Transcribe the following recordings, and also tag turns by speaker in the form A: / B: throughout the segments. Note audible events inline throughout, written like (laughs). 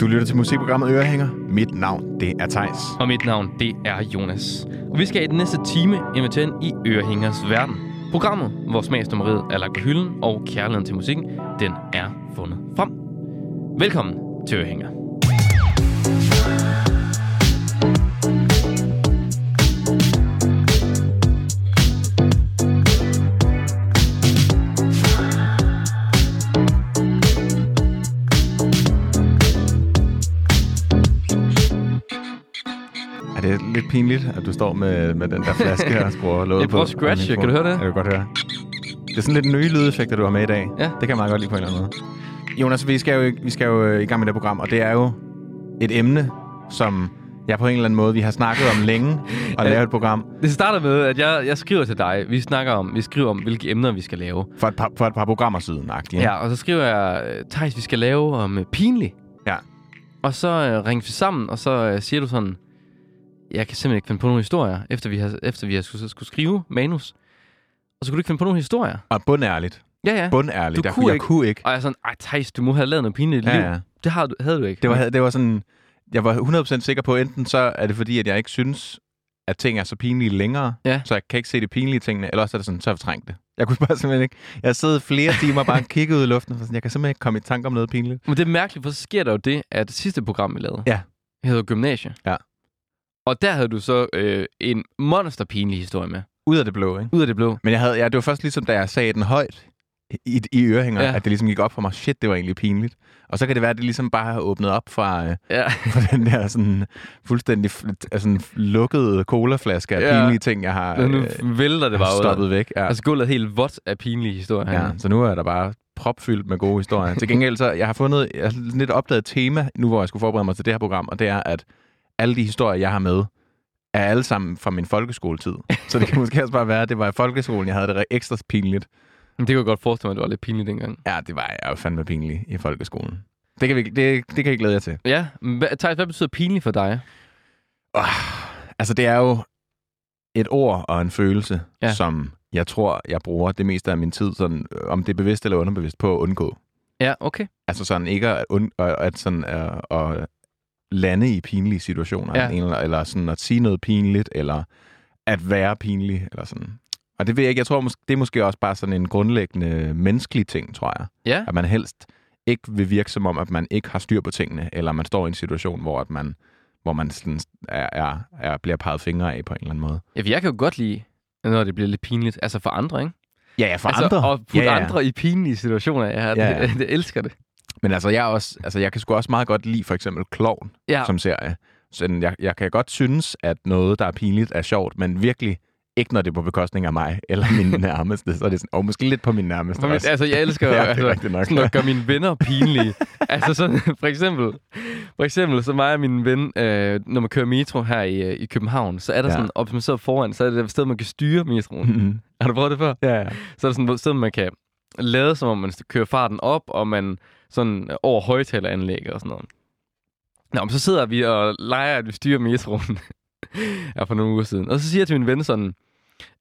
A: Du lytter til musikprogrammet Ørehænger. Mit navn, det er Tejs.
B: Og mit navn, det er Jonas. Og vi skal i den næste time invitere ind i Ørehængers verden. Programmet, hvor smagsdommeriet er lagt på hylden, og kærligheden til musikken, den er fundet frem. Velkommen til Ørehænger.
A: Er det lidt pinligt, at du står med, med den der flaske her og skruer låget på?
B: Jeg prøver at scratche. Kan du høre det?
A: Jeg kan godt høre. Det er sådan lidt nye lydeffekter, du har med i dag.
B: Ja.
A: Det kan jeg meget godt lide på en eller anden måde. Jonas, vi skal jo, vi skal jo øh, i gang med det program, og det er jo et emne, som jeg på en eller anden måde, vi har snakket om længe, og
B: Ja.
A: lavet et program
B: Det starter med, at jeg, jeg skriver til dig. Vi snakker om, vi skriver om, hvilke emner vi skal lave.
A: for et par, for et par programmer siden. -agtigt,
B: Ja, ja og så skriver jeg, Thijs, vi skal lave om øh, pinlig.
A: Ja.
B: Og så øh, ringer vi sammen, og så øh, siger du sådan, jeg kan simpelthen ikke finde på nogen historier, efter vi har, efter vi har skulle, skulle skrive manus. Og så kunne du ikke finde på nogen historier.
A: Og bundærligt.
B: Ja, ja.
A: Bundærligt.
B: Du
A: jeg,
B: kunne
A: jeg
B: ikke.
A: kunne ikke.
B: Og jeg er sådan, ej Thijs, du må have lavet noget pinligt i dit
A: Ja,
B: liv.
A: ja.
B: Det har du, havde du ikke.
A: Det var, det var sådan, jeg var 100% sikker på, enten så er det fordi, at jeg ikke synes, at ting er så pinlige længere,
B: Ja.
A: så jeg kan ikke se de pinlige tingene, eller også er det sådan, så har jeg fortrængt det. Jeg kunne (laughs) bare simpelthen ikke. Jeg sad flere timer og bare kiggede ud i luften, og sådan, jeg kan simpelthen ikke komme i tanke om noget pinligt.
B: Men det er mærkeligt, for så sker der jo det, at det sidste program, vi lavede,
A: Ja.
B: hedder Gymnasie.
A: Ja.
B: Og der havde du så øh, en monsterpinlig historie med.
A: Ud af det blå, ikke?
B: Ud af det blå.
A: Men jeg havde, ja, det var først ligesom, da jeg sagde den højt i, i ørehænger,
B: Ja.
A: ja. at det ligesom gik op for mig, shit, det var egentlig pinligt. Og så kan det være, at det ligesom bare har åbnet op fra, øh, (laughs)
B: Ja.
A: fra den der sådan, fuldstændig fl- altså, lukkede colaflaske af
B: Ja.
A: ja. pinlige ting, jeg har
B: Og nu
A: øh,
B: vælter det bare ud. af-
A: stoppet væk. Ja.
B: Altså gulvet er helt vådt af pinlige historier.
A: Ja, så nu er der bare propfyldt med gode historier. Til gengæld så, jeg har fundet, jeg har lidt opdaget et tema, nu hvor jeg skulle forberede mig til det her program, og det er, at alle de historier, jeg har med, er alle sammen fra min (laughs) folkeskoletid. Så det kan måske også bare være, at det var i folkeskolen, jeg havde det re- ekstra pinligt.
B: Men det kunne jeg godt forestille mig, at det var lidt pinligt dengang.
A: Ja, det var jeg jo fandme pinlig i folkeskolen. Det kan, vi, det, det kan jeg glæde jer til.
B: Ja, men hvad- Thijs, hvad betyder pinligt for dig?
A: Altså, det er jo et ord og en følelse,
B: Ja.
A: ja. som jeg tror, jeg bruger det meste af min tid, sådan, øh, om det er bevidst eller underbevidst, på at undgå.
B: Ja, okay.
A: Altså sådan ikke at, und, at, at sådan at, at lande i pinlige situationer,
B: Ja.
A: ja. eller, eller sådan at sige noget pinligt, eller at være pinlig, eller sådan. Og det ved jeg ikke, jeg tror, mås- det er måske også bare sådan en grundlæggende menneskelig ting, tror jeg.
B: Ja.
A: At man helst ikke vil virke som om, at man ikke har styr på tingene, eller man står i en situation, hvor at man hvor man sådan er, er, er, bliver peget fingre af på en eller anden måde.
B: ja for jeg kan jo godt lide, når det bliver lidt pinligt. Altså for andre, ikke?
A: Ja, ja, for
B: altså,
A: andre.
B: Og putte
A: ja, ja.
B: andre i pinlige situationer. Ja, det, ja,
A: Ja,
B: ja. (laughs)
A: ja.
B: det elsker det.
A: Men altså, jeg, er også, altså, jeg kan sgu også meget godt lide for eksempel klovn.
B: Ja,
A: som serie. Så jeg, jeg kan godt synes, at noget, der er pinligt, er sjovt, men virkelig ikke, når det er på bekostning af mig
B: (laughs)
A: eller min nærmeste. Så er det sådan, og måske lidt på min nærmeste
B: for min,
A: også.
B: altså jeg
A: (laughs)
B: elsker
A: Ja, det er
B: altså,
A: rigtigt nok.
B: sådan at gøre mine venner
A: (laughs)
B: pinlige. altså sådan, for eksempel, for eksempel, så mig og min ven, øh, når man kører metro her i, øh, i København, så er der ja.
A: Ja.
B: sådan, og hvis man sidder foran, så er det et sted, man kan styre
A: (laughs)
B: metroen.
A: (laughs) Mhm.
B: Har du prøvet det før?
A: ja, ja.
B: Så er der sådan et sted, man kan lade, som om man kører farten op, og man sådan øh, over højtaleranlægget og sådan noget. Nå, men så sidder vi og leger, at vi styrer metroen (laughs) ja, for nogle uger siden. Og så siger jeg til min ven sådan,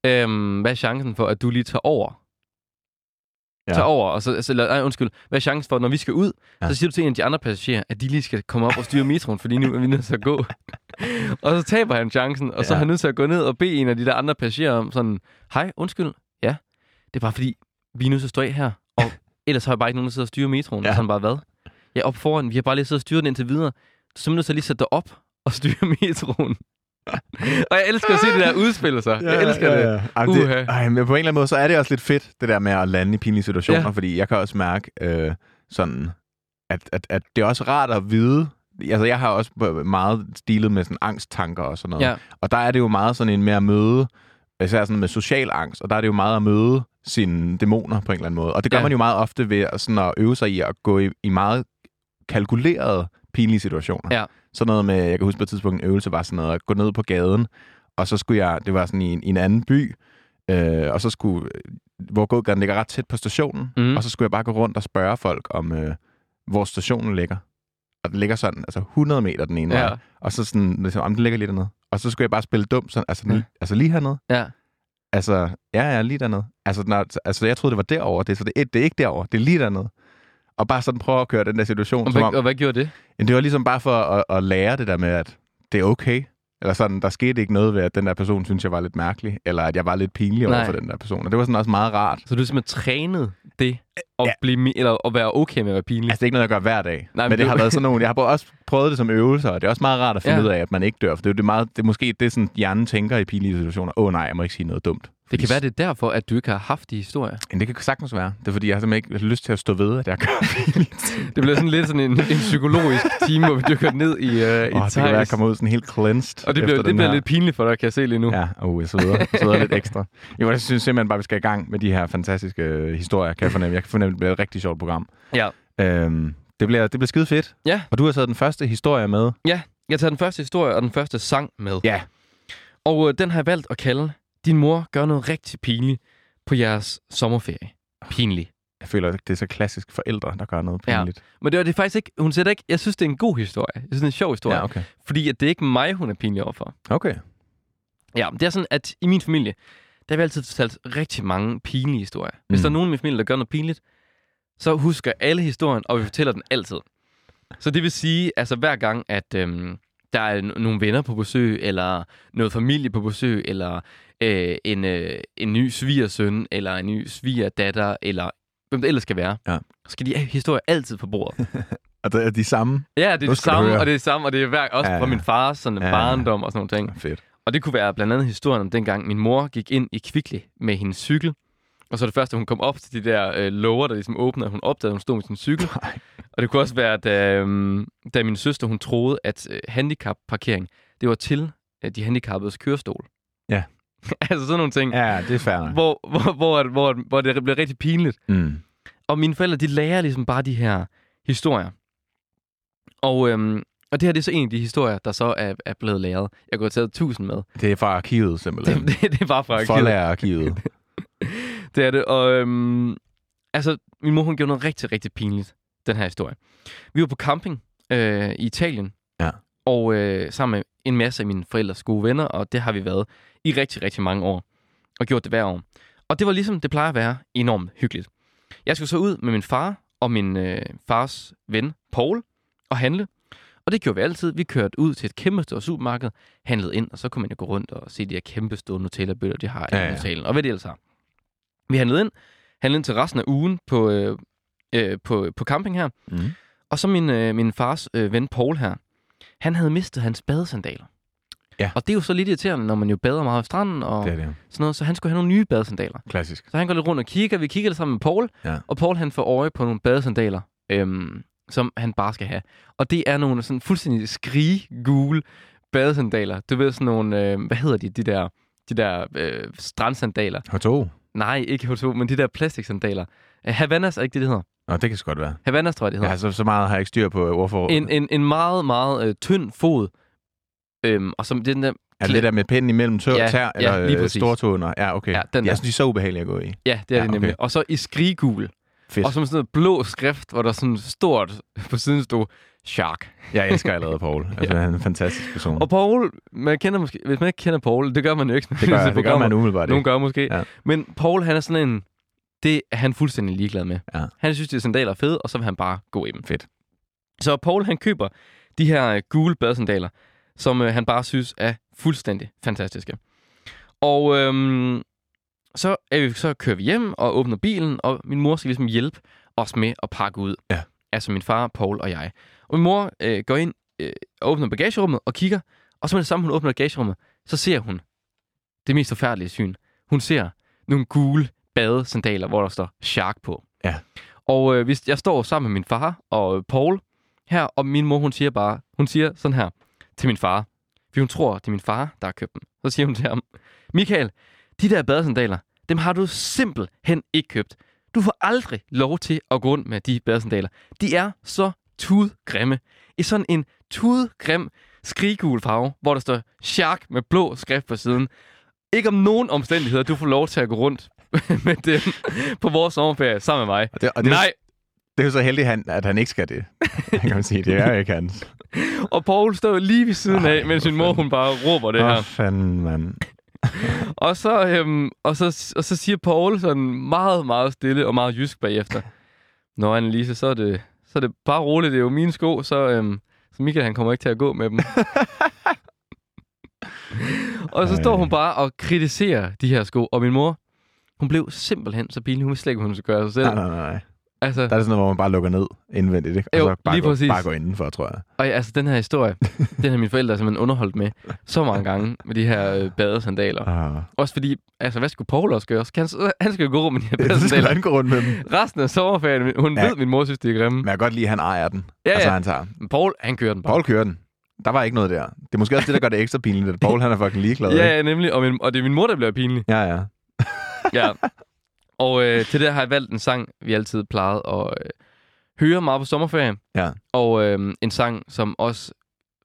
B: øhm, hvad er chancen for, at du lige tager over? Ja.
A: Ja.
B: Tager over, og så, så nej, undskyld, hvad er chancen for, når vi skal ud, ja.
A: Ja.
B: så siger du til en af de andre passagerer, at de lige skal komme op og styre metroen, fordi nu er vi nødt til at gå. (laughs) og så taber han chancen, og så er
A: Ja.
B: han nødt til at gå ned og bede en af de der andre passagerer om sådan, hej, undskyld, ja, det er bare fordi, vi er nødt til at stå af her, og ellers har jeg bare ikke nogen, der sidder og styrer metroen. Ja.
A: Ja.
B: Og så er han bare, hvad? Ja, op foran, vi har bare lige siddet og styret den indtil videre. Du er simpelthen nødt til at lige sætte dig op og styre (laughs) metroen. og jeg elsker at se det der udspille sig. Jeg elsker det.
A: Ej, men
B: Uha.
A: det ej, men på en eller anden måde, så er det også lidt fedt, det der med at lande i pinlige situationer,
B: Ja.
A: ja. fordi jeg kan også mærke øh, sådan, at, at, at det er også rart at vide, altså jeg har også meget stilet med sådan angsttanker og sådan noget,
B: Ja.
A: og der er det jo meget sådan en mere møde, især sådan med social angst, og der er det jo meget at møde sine dæmoner på en eller anden måde. Og det gør
B: Ja.
A: ja. man jo meget ofte ved at, sådan at øve sig i at gå i, i meget kalkulerede, pinlige situationer.
B: Ja.
A: Sådan noget med, jeg kan huske på et tidspunkt, en øvelse var sådan noget, at gå ned på gaden, og så skulle jeg, det var sådan i en, i en anden by, øh, og så skulle, hvor gågaden ligger ret tæt på stationen,
B: Mhm.
A: mm. og så skulle jeg bare gå rundt og spørge folk om, øh, hvor stationen ligger. Og den ligger sådan, altså 100 meter den ene ja.
B: Ja.
A: vej, og så sådan, ligesom, om den ligger lige dernede. Og så skulle jeg bare spille dum, sådan, altså,
B: Ja.
A: ja. altså lige hernede.
B: Ja.
A: Altså, ja, ja, lige dernede. Altså, når, altså jeg troede, det var derovre. Det, er så det, er- det er ikke derovre, det er lige dernede. Og bare sådan prøve at køre den der situation.
B: Og
A: Som
B: hvad,
A: om,
B: og hvad gjorde det?
A: Jamen, det var ligesom bare for at, at lære det der med, at det er okay. Eller sådan, der skete ikke noget ved, at den der person synes jeg var lidt mærkelig. Eller at jeg var lidt pinlig over
B: Nej.
A: for den der person. Og det var sådan også meget rart.
B: Så du har simpelthen trænet det, at,
A: Ja.
B: ja. blive, mi- eller at være okay med at være pinlig?
A: Altså, det er ikke noget, jeg gør hver dag.
B: Nej,
A: Nej,
B: men
A: men, men det
B: du-
A: har været sådan nogle... Jeg har både også prøvet det som øvelser, og det er også meget rart at finde
B: Ja.
A: ja. ud af, at man ikke dør. For det er jo det meget, det er måske det, sådan, hjernen tænker i pinlige situationer. Åh oh, nej, jeg må ikke sige noget dumt.
B: det kan være, det er derfor, at du ikke har haft de historier.
A: Men det kan sagtens være. Det er fordi, jeg har simpelthen ikke lyst til at stå ved, at jeg gør
B: Det bliver sådan lidt sådan en, en psykologisk time, hvor vi dykker ned i, uh, i
A: Åh,
B: oh,
A: det kan være, at jeg kommer ud sådan helt cleansed.
B: Og det bliver,
A: efter
B: det
A: den
B: bliver
A: her.
B: lidt pinligt for dig, kan jeg se lige nu.
A: Ja, uh, jeg sidder, jeg sidder lidt ekstra. Jo, jeg synes simpelthen bare, vi skal i gang med de her fantastiske øh, historier, kan jeg fornemme. Jeg kan fornemme, det bliver et rigtig sjovt program.
B: ja.
A: Øhm, det, bliver, det bliver skide fedt.
B: Ja.
A: Og du har taget den første historie med.
B: Jeg tager den første historie og den første sang med.
A: Ja.
B: Og øh, den har jeg valgt at kalde Din mor gør noget rigtig pinligt på jeres sommerferie. Pinlig.
A: Jeg føler, det er så klassisk forældre, der gør noget pinligt.
B: Men det var det faktisk ikke. Hun sætter ikke... Jeg synes, det er en god historie. Jeg synes, det er en sjov historie.
A: ja okay.
B: Fordi at det er ikke mig, hun er pinlig overfor.
A: Okay.
B: Ja, det er sådan, at i min familie, der har vi altid fortalt rigtig mange pinlige historier. Hvis
A: Mm.
B: der er nogen i min familie, der gør noget pinligt, så husker alle historien, og vi fortæller den altid. Så det vil sige, altså hver gang, at øhm, der er n- nogle venner på besøg, eller noget familie på besøg, eller øh, en, øh, en ny svigersøn, eller en ny svigerdatter, eller hvem det ellers skal være,
A: Ja.
B: så skal de have historier altid på bordet.
A: Og det er de samme.
B: Ja, det er
A: Nu
B: det
A: skal du
B: samme,
A: høre.
B: og det er det samme, og det er hver, også
A: Ja,
B: fra
A: ja.
B: min fars sådan
A: Ja, ja.
B: barndom og sådan nogle ting.
A: Fedt.
B: Og det kunne være blandt andet historien om dengang min mor gik ind i Kvickly med hendes cykel. Og så det første, hun kom op til de der øh, låger, der ligesom åbnede, og hun opdagede, at hun stod med sin cykel.
A: Nej.
B: Og det kunne også være, da, øh, da min søster hun troede, at øh, handicapparkering, det var til øh, de handicappedes kørestol.
A: Ja.
B: (laughs) altså sådan nogle ting, ja.
A: Ja, det er fair. nok.
B: hvor, hvor, hvor, hvor, hvor det bliver rigtig pinligt.
A: Mm.
B: Og mine forældre, de lærer ligesom bare de her historier. Og, øhm, og det her, det er så en af de historier, der så er, er blevet læret. Jeg kunne have taget tusind med.
A: Det er fra arkivet,
B: Det,
A: simpelthen.
B: (laughs) det, det er bare fra arkivet. (laughs)
A: Forlærerarkivet.
B: Det er det. Og øhm, altså, min mor, hun gjorde noget rigtig, rigtig pinligt, den her historie. Vi var på camping øh, i Italien.
A: Ja.
B: Og øh, sammen med en masse af mine forældres gode venner, og det har vi været i rigtig, rigtig mange år. Og gjort det hver år. Og det var ligesom, det plejer at være enormt hyggeligt. Jeg skulle så ud med min far og min øh, fars ven, Paul, og handle. Og det gjorde vi altid. Vi kørte ud til et kæmpe stort supermarked, handlede ind, og så kunne man jo gå rundt og se de her kæmpe store Nutella-bøtter, de har i
A: Ja,
B: ja,
A: ja.
B: ja. Nutella, og hvad det ellers har. Vi handlede ind, handlede ind til resten af ugen på, øh, øh, på, på camping her.
A: Mm.
B: Og så min, øh, min fars øh, ven Paul her, han havde mistet hans badesandaler.
A: Ja.
B: Og det er jo så lidt irriterende, når man jo bader meget på stranden og
A: Det
B: sådan
A: er det.
B: noget, så han skulle have nogle nye badesandaler.
A: Klassisk.
B: Så han går lidt rundt og kigger. Vi kigger lidt sammen med Paul.
A: Ja.
B: Og Paul han får øje på nogle badesandaler, øhm, som han bare skal have. Og det er nogle sådan fuldstændig skriggule badesandaler. Du ved sådan nogle, øh, hvad hedder de, de der, de der øh, strandsandaler.
A: H2.
B: Nej, ikke H2, men de der plastiksandaler. Øh, Havanas er ikke det, det hedder.
A: Nå, det kan så godt være.
B: Havanas tror jeg, det hedder.
A: Ja, så, så meget har jeg ikke styr på øh, ordforrådet.
B: En, en, en meget, meget øh, tynd fod. Øhm, og som det er den der,
A: Er det det der med pinden imellem tør,
B: Ja,
A: ja, tær,
B: ja,
A: eller
B: lige
A: øh,
B: præcis.
A: stortåner? Ja, okay.
B: Ja,
A: Ja,
B: den
A: den
B: der.
A: jeg synes, de er så ubehagelige at gå i.
B: ja, det er
A: Ja,
B: det
A: okay.
B: nemlig. Og så i skriggul.
A: Fedt.
B: Og så med sådan noget blå skrift, hvor der sådan stort på siden stod, shark.
A: Jeg elsker allerede
B: (laughs)
A: Paul. Altså, han er en fantastisk person.
B: Og Paul, man kender måske, hvis man ikke kender Paul, det gør man jo ikke. når (laughs)
A: det,
B: lytter
A: gør,
B: til
A: det gør
B: programmer.
A: man umiddelbart
B: Nogen
A: ikke.
B: gør måske. Ja.
A: Ja.
B: Men Paul, han er sådan en, det er han fuldstændig ligeglad med.
A: Ja.
B: Han synes, de sandaler er fede, og så vil han bare gå i dem.
A: Fedt.
B: Så Paul, han køber de her øh, gule badesandaler, som øh, han bare synes er fuldstændig fantastiske. Og øhm, så, er vi, så kører vi hjem og åbner bilen, og min mor skal ligesom hjælpe os med at pakke ud.
A: Ja.
B: Altså min far, Paul og jeg. Og min mor øh, går ind, øh, åbner bagagerummet og kigger, og så med det samme, hun åbner bagagerummet, så ser hun det mest forfærdelige syn. Hun ser nogle gule badesandaler, hvor der står shark på.
A: Ja.
B: Og øh, hvis jeg står sammen med min far og øh, Paul her, og min mor, hun siger bare, hun siger sådan her til min far, fordi hun tror, det er min far, der har købt dem. Så siger hun til ham, Michael, de der badesandaler, dem har du simpelthen ikke købt. Du får aldrig lov til at gå rundt med de badesandaler. De er så tudgrimme. I sådan en tudgrim skriggul farve, hvor der står shark med blå skrift på siden. Ikke om nogen omstændigheder, du får lov til at gå rundt (laughs) med dem på vores sommerferie sammen med mig.
A: Og det, og det, er,
B: Nej,
A: jo- det er jo så heldigt, han, at han ikke skal
B: (laughs)
A: det. Kan man sige. Det er jo ikke hans.
B: og Paul står lige ved siden
A: Ej,
B: af, mens sin
A: hvor
B: mor
A: fanden.
B: hun bare råber det
A: Åh,
B: her.
A: fanden, mand.
B: Og så, øhm, og, så, og så siger Paul sådan meget, meget stille og meget jysk bagefter. Nå, Annelise, så er det, så er det bare roligt. Det er jo mine sko, så, øhm, så Michael han kommer ikke til at
A: (laughs)
B: gå med dem. og så står hun bare og kritiserer de her sko. Og min mor, hun blev simpelthen så pinlig. Hun vidste slet ikke, hvad hun skulle gøre sig selv.
A: Nej, nej, nej, nej.
B: Altså,
A: Der er det sådan noget, hvor man bare lukker ned indvendigt, ikke? Og
B: Jo,
A: så bare
B: lige
A: går,
B: præcis.
A: Bare går indenfor, tror jeg.
B: Og ja, altså, den her
A: (laughs)
B: historie, den har mine forældre simpelthen underholdt med så mange gange med de her øh, badesandaler.
A: (laughs) Ah.
B: Også fordi, altså, hvad skulle Paul også gøre? Skal han, så- han skal jo gå rundt med de
A: (laughs)
B: her
A: Det, så skal
B: badesandaler.
A: han gå rundt med dem.
B: Resten af sommerferien, hun
A: Ja.
B: ja. ved, min mor synes, det er grimme.
A: Men jeg kan godt lide, at han ejer den.
B: Ja,
A: Altså,
B: ja.
A: han tager.
B: Men Paul, han kører den bare.
A: Paul kører den. Der var ikke noget der. Det er måske også det, der gør det ekstra pinligt, at Paul han er fucking ligeglad. ikke?
B: Ja, ja, nemlig. Og, min, og det er min mor, der bliver pinlig.
A: ja, ja. (laughs)
B: Ja. Og øh, til det har jeg valgt en sang, vi altid plejede at øh, høre meget på sommerferien.
A: Ja.
B: Og øh, en sang, som også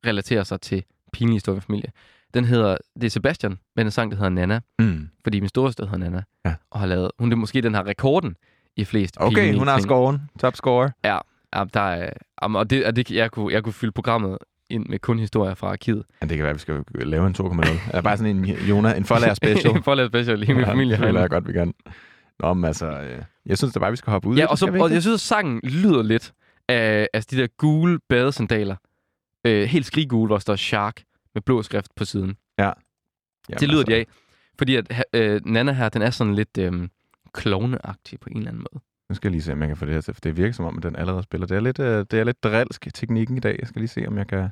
B: relaterer sig til pinlige historier i familie. Den hedder, det er Sebastian, men en sang, der hedder Nana.
A: Mm.
B: fordi min storesøster hedder Nana,
A: Ja.
B: og har lavet, hun er måske den har rekorden i flest
A: Okay,
B: pinlige
A: hun har
B: ting.
A: scoren. Top scorer.
B: Ja, der er, jamen, og det, og det, jeg, kunne, jeg kunne fylde programmet ind med kun historier fra arkivet.
A: Ja, det kan være, at vi skal lave en 2,0. Eller bare sådan en Jona, en forlærer
B: (laughs)
A: special.
B: For at lave special i min familie.
A: Det føler jeg godt, vi kan. Nå, men altså, øh, jeg synes da bare, vi skal hoppe ud. i
B: ja,
A: det,
B: og, så,
A: skal vi
B: og
A: ikke
B: jeg synes, at sangen lyder lidt af, af de der gule badesandaler. Øh, helt skriggule, hvor der står Shark med blå skrift på siden.
A: det?
B: det
A: Jamen, altså,
B: lyder de af. Fordi at, ha- øh, Nana her, den er sådan lidt øh, klovneagtig på en eller anden måde.
A: Nu skal jeg lige se, om jeg kan få det her til, for det virker som om, at den allerede spiller. Det er lidt, øh, det er lidt drilsk teknikken i dag. Jeg skal lige se, om jeg kan...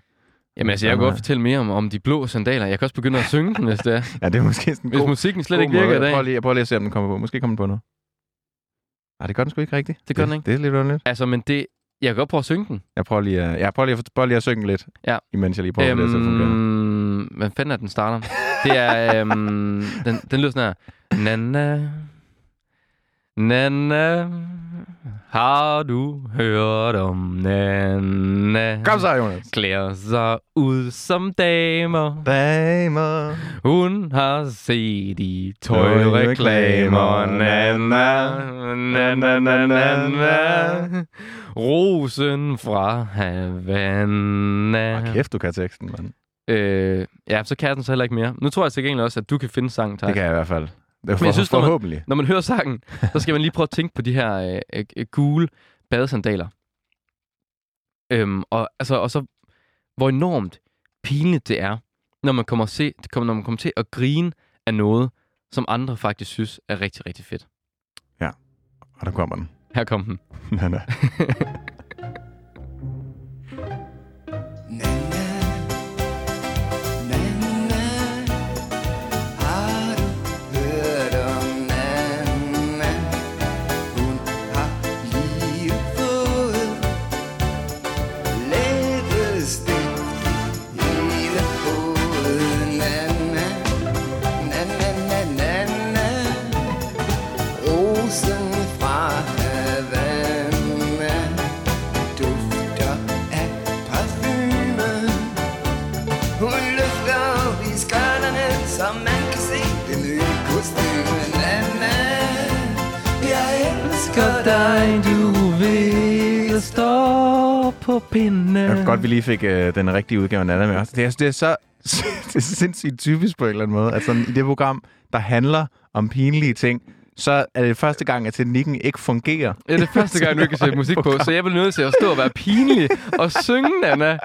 B: Jamen altså, jeg
A: Sådan
B: kan
A: er.
B: godt fortælle mere om, om de blå sandaler. Jeg kan også begynde at synge den, hvis det er.
A: Ja, det er måske sådan en
B: Hvis
A: god,
B: musikken slet
A: god
B: ikke virker i
A: måde.
B: dag.
A: Prøv lige, jeg prøver lige at se, om den kommer på. Måske kommer den på nu. Nej, det gør den sgu ikke rigtigt.
B: Det gør den ikke.
A: Det er lidt underligt.
B: Altså, men det... Jeg kan godt prøve at synge den.
A: Jeg prøver lige, at, jeg prøver lige, at, prøver lige at synge lidt,
B: Ja.
A: imens jeg lige prøver øhm... at få det her til at fungere.
B: Øhm, hvad fanden er den starter? Det
A: (laughs)
B: er... Øhm, den, den lyder sådan her. Nana... Nana... Har du hørt om Nana?
A: Kom så, Jonas.
B: Klæder sig ud som damer.
A: Damer.
B: Hun har set i tøjreklamer. Nana, na, na, na, na, na. Rosen fra
A: Hold
B: Havana.
A: kæft, du kan teksten, mand.
B: Øh, ja, så kan jeg den så heller ikke mere. Nu tror jeg til gengæld også, at du kan finde sangen,
A: Det
B: tak.
A: kan jeg i hvert fald. Det er for,
B: Men jeg synes, når man-
A: forhåbentlig.
B: Når man hører sangen, så skal man lige prøve at tænke på de her øh, øh, øh, gule badesandaler. Øhm, og, altså, og så, hvor enormt pinligt det er, når man kommer, se, kommer- når man kommer til at grine af noget, som andre faktisk synes er rigtig, rigtig fedt.
A: Og der kommer den. (laughs) øh.
B: Her kom den.
A: Nej, nej.
C: Rosen fra Havana dufter af parfume. Hun løfter op i skørterne, så man kan se det nye kostyme. Nana, jeg elsker dig, du ved.
B: Stå på pinde.
A: Jeg kan godt, vi lige fik øh, den rigtige udgave af Nana med os. Det er, det er så (laughs) det er så sindssygt typisk på en eller anden måde, at sådan, i det program, der handler om pinlige ting, så er det første gang, at teknikken ikke fungerer.
B: Ja, det er første gang, du ikke kan sætte musik på, så jeg bliver nødt til at stå og være pinlig og synge, Nana.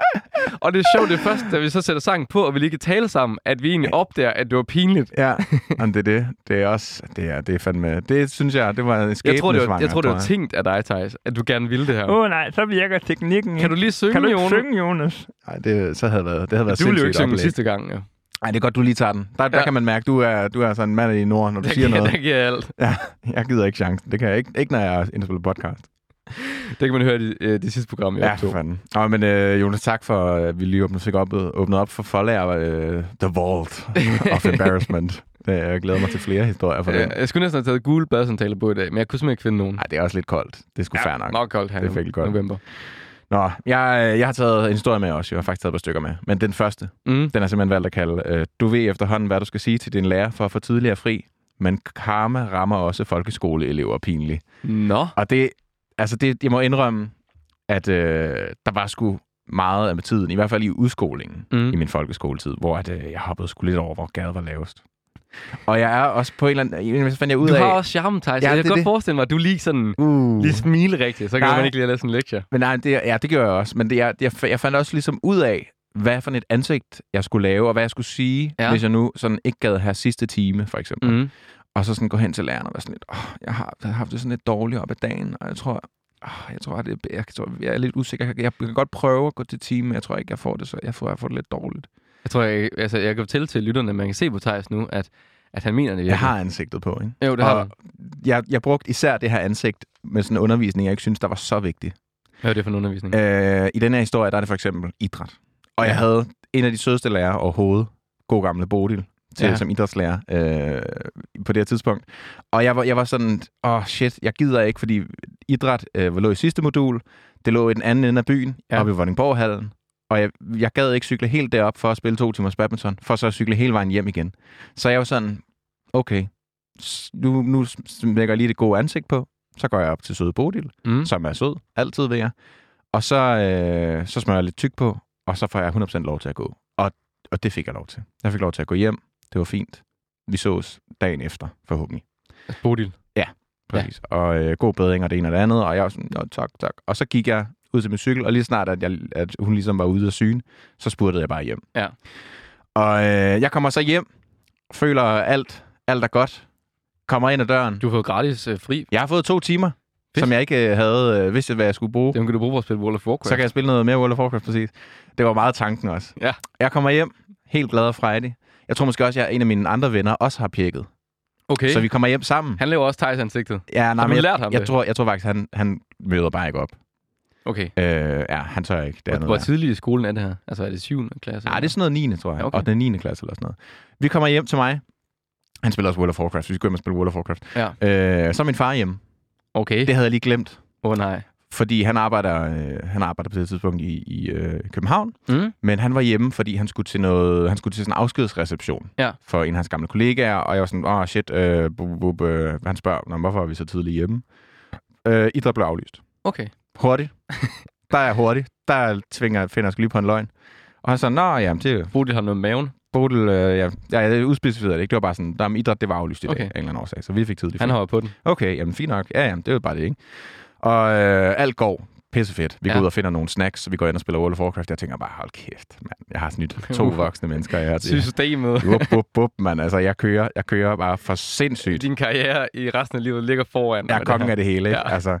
B: Og det er sjovt, det er først, da vi så sætter sangen på, og vi lige kan tale sammen, at vi egentlig opdager, at det var pinligt.
A: (laughs) Ja, men det er det. Det er også, det er, det er fandme, det synes jeg, det var en skæbne
B: Jeg tror, det var, jeg tror, det var tænkt af dig, Thijs, at du gerne ville det her.
A: Åh oh, nej, så virker teknikken
B: Kan du lige synge, Jonas?
A: Jonas? Nej, det så havde været, det havde været
B: Du ville jo ikke
A: sindssygt
B: synge
A: oplæg.
B: sidste gang, jo.
A: Nej, det er godt, du lige tager den. Der, der
B: Ja.
A: kan man mærke, du er, du er sådan en mand i nord, når du
B: Der
A: siger
B: (laughs) giver,
A: noget.
B: der giver jeg alt.
A: Ja, jeg gider ikke chancen. Det kan jeg ikke, ikke når jeg indspiller podcast.
B: Det kan man høre i de, øh, de sidste program, jeg
A: Ja,
B: ja,
A: for
B: optog.
A: fanden. Nå, men øh, Jonas, tak for, at vi lige åbnede, fik op, åbnet op for forlærer øh, The Vault of Embarrassment. Det, jeg glæder mig til flere historier fra den.
B: Øh, Jeg skulle næsten have taget gule badesandaler på i dag, men jeg kunne simpelthen ikke finde nogen.
A: Nej, det er også lidt koldt. Det er sgu ja, fair nok.
B: Meget koldt her
A: Det er
B: i
A: virkelig koldt.
B: november.
A: Nå, jeg, øh, jeg har taget en historie med også. Jeg har faktisk taget et par stykker med. Men den første,
B: Mm.
A: den er simpelthen valgt at kalde, øh, du ved efterhånden, hvad du skal sige til din lærer for at få tidligere fri. Men karma rammer også folkeskoleelever pinligt.
B: Nå.
A: Og det, altså det, jeg må indrømme, at øh, der var sgu meget af tiden, i hvert fald i udskolingen mm.
B: Mm.
A: i min folkeskoletid, hvor at, øh, jeg hoppede sgu lidt over, hvor gade var lavest. Og jeg er også på en eller anden... Så fandt jeg ud
B: Du
A: af...
B: har også charme, Thijs.
A: Ja,
B: Ja, jeg
A: det er
B: kan godt
A: det.
B: forestille mig, at du lige sådan...
A: Uh.
B: Lige smile rigtigt, så kan
A: Nej.
B: man ikke lige læse en lektie.
A: Men nej, det, ja, det gjorde jeg også. Men det, jeg, jeg, jeg fandt også ligesom ud af, hvad for et ansigt, jeg skulle lave, og hvad jeg skulle sige, ja.
B: Ja.
A: hvis jeg nu sådan ikke gad have sidste time, for eksempel. Mm. Og så sådan gå hen til læreren og være sådan lidt, åh, jeg har, jeg har haft det sådan lidt dårligt op ad dagen, og jeg tror, åh, jeg tror, det, jeg, tror, jeg er lidt usikker. Jeg, jeg kan godt prøve at gå til time, men jeg tror ikke, jeg får det, så jeg får, jeg får det lidt dårligt.
B: Jeg tror, jeg, altså, jeg kan fortælle til lytterne, at man kan se på Thijs nu, at, at han mener det virkelig.
A: Jeg har ansigtet på, ikke?
B: Jo, det har
A: Og
B: du.
A: jeg, jeg brugte især det her ansigt med sådan en undervisning, jeg ikke synes, der var så vigtig.
B: Hvad er det for en undervisning?
A: Øh, I den her historie, der er det for eksempel idræt. Og jeg
B: Ja.
A: havde en af de sødeste lærere overhovedet, god gamle Bodil, til, ja.
B: Ja.
A: som idrætslærer øh, på det her tidspunkt. Og jeg var, jeg var sådan, åh oh shit, jeg gider ikke, fordi idræt øh, lå i sidste modul, det lå i den anden ende af byen, ja.
B: Ja.
A: oppe i Vordingborghallen. Og jeg, jeg gad ikke cykle helt derop for at spille to timers badminton, for så at cykle hele vejen hjem igen. Så jeg var sådan, okay, s- nu, nu lægger jeg lige det gode ansigt på, så går jeg op til søde Bodil,
B: Mm.
A: som er sød, altid ved jer. Og så, øh, så smører jeg lidt tyk på, og så får jeg 100% lov til at gå. Og, og det fik jeg lov til. Jeg fik lov til at gå hjem. Det var fint. Vi sås dagen efter, forhåbentlig.
B: Bodil.
A: Præcis. Ja. Og øh, god bedring og det ene og det andet. Og jeg var sådan, "Nå, tak, tak. Og så gik jeg ud til min cykel, og lige snart, at, jeg, at hun ligesom var ude af syne, så spurgte jeg bare hjem.
B: Ja.
A: Og øh, jeg kommer så hjem, føler alt, alt er godt, kommer ind ad døren.
B: Du har fået gratis øh, fri.
A: Jeg har fået to timer, Fedt.
B: Fedt.
A: som jeg ikke øh, havde øh, vidst, hvad jeg skulle bruge.
B: Dem kan du bruge for at spille World of Warcraft.
A: Så kan jeg spille noget mere World of Warcraft, præcis. Det var meget tanken også.
B: Ja.
A: Jeg kommer hjem, helt glad og frejdig. Jeg tror måske også, at jeg, en af mine andre venner også har pjekket.
B: Okay.
A: Så vi kommer hjem sammen.
B: Han laver også Thijs ansigtet.
A: Ja, nej,
B: du
A: men jeg,
B: lært ham
A: jeg,
B: det?
A: tror, jeg tror faktisk, han, han møder bare ikke op.
B: Okay.
A: Øh, ja, han tør ikke. Det er
B: Hvor,
A: noget
B: hvor
A: værd.
B: tidligt i skolen er det her? Altså er det 7. klasse?
A: Nej, det er sådan noget 9. tror jeg.
B: Ja,
A: Okay.
B: okay.
A: Og den 9. klasse eller sådan noget. Vi kommer hjem til mig. Han spiller også World of Warcraft. Vi skal hjem og spille World of Warcraft.
B: Ja.
A: Øh, så er min far hjemme.
B: Okay.
A: Det havde jeg lige glemt.
B: Åh oh, nej.
A: Fordi han arbejder, øh, han arbejder på det tidspunkt i, i øh, København.
B: Mm.
A: Men han var hjemme, fordi han skulle til noget, han skulle til sådan en afskedsreception
B: Ja.
A: for en af hans gamle kollegaer, og jeg var sådan, åh oh, shit, øh, bu, bu, bu, øh, han spørger, "Nå, hvorfor er vi så tidligt hjemme? Øh, idræt blev aflyst.
B: Okay.
A: Hurtigt. der er jeg hurtig. Der tvinger, finder jeg sgu lige på en løgn. Og han sagde, nå, jamen, det er
B: Bodil har noget med maven.
A: Bodil, øh, ja, ja, jeg udspecificerede det ikke. Det var bare sådan, der idræt, det var aflyst i dag,
B: Okay.
A: af en eller anden årsag, så vi fik tidligt.
B: Han
A: fri.
B: hopper på den.
A: Okay, jamen fint nok. Ja, jamen, det er jo bare det, ikke? Og øh, alt går pissefedt. Vi går
B: Ja.
A: ud og finder nogle snacks, vi går ind og spiller World of Warcraft. Jeg tænker bare, hold kæft, mand. Jeg har snydt to voksne mennesker. Jeg, jeg,
B: Systemet.
A: bup, bup, bup, mand. Altså, jeg kører, jeg kører bare for sindssygt.
B: Din karriere i resten af livet ligger foran.
A: Jeg er
B: dig,
A: kongen
B: her.
A: af det hele, ikke? Ja.
B: Ja.
A: Altså,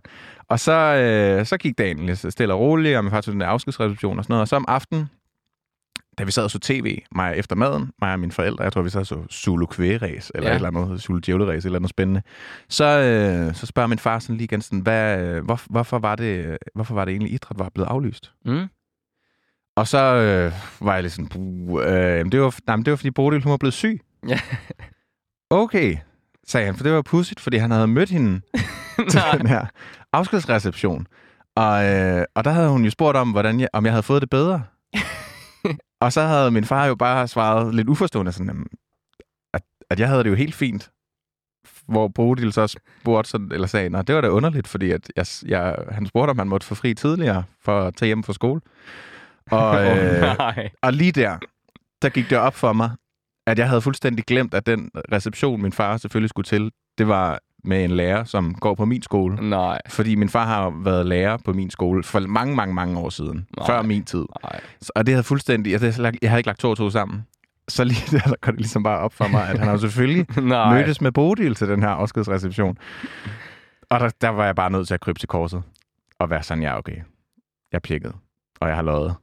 A: og så, øh, så gik dagen lidt stille og roligt, og min far tog den der afskedsreception og sådan noget. Og så om aftenen, da vi sad og så tv, mig efter maden, mig og mine forældre, jeg tror, vi sad og så Zulu Kvægeræs, eller ja.
B: Ja.
A: et eller andet, Zulu Djævleræs, et eller andet spændende, så, øh, så spørger min far sådan lige igen, sådan, hvad, øh, hvor, hvorfor, var det, øh, hvorfor var det egentlig idræt var blevet aflyst?
B: Mm.
A: Og så øh, var jeg lidt sådan, "Buh, øh, jamen, det, var, nej, men det var fordi Bodil, hun var blevet syg.
B: Ja.
A: Okay, sagde han, for det var pudsigt, fordi han havde mødt
B: (laughs)
A: hende til
B: Nej.
A: den her afskedsreception. Og, øh, og der havde hun jo spurgt om, hvordan jeg, om jeg havde fået det
B: (laughs)
A: bedre. og så havde min far jo bare svaret lidt uforstående, sådan, "Jamen, at, at jeg havde det jo helt fint. Hvor Bodil så spurgte, sådan, eller sagde, nej, det var da underligt, fordi at jeg, jeg, han spurgte, om han måtte få fri tidligere for at tage hjem fra skole.
B: (laughs)
A: Og,
B: Åh,
A: øh,
B: nej.
A: og lige der, der gik det op for mig, at jeg havde fuldstændig glemt, at den reception, min far selvfølgelig skulle til, det var med en lærer, som går på min skole.
B: Nej.
A: Fordi min far har jo været lærer på min skole for mange, mange, mange år siden. Nej.
B: Nej.
A: Før min tid.
B: Nej.
A: Så- Og det havde fuldstændig... Jeg havde, lagt- jeg havde ikke lagt to og to sammen. Så lige (laughs) der, der går det ligesom bare op for mig, at han har jo selvfølgelig
B: Nej.
A: mødtes med Bodil til den her afskedsreception. Og der, der var jeg bare nødt til at krybe til korset. Og være sådan, ja, okay. Jeg pjekkede. Og jeg har løjet.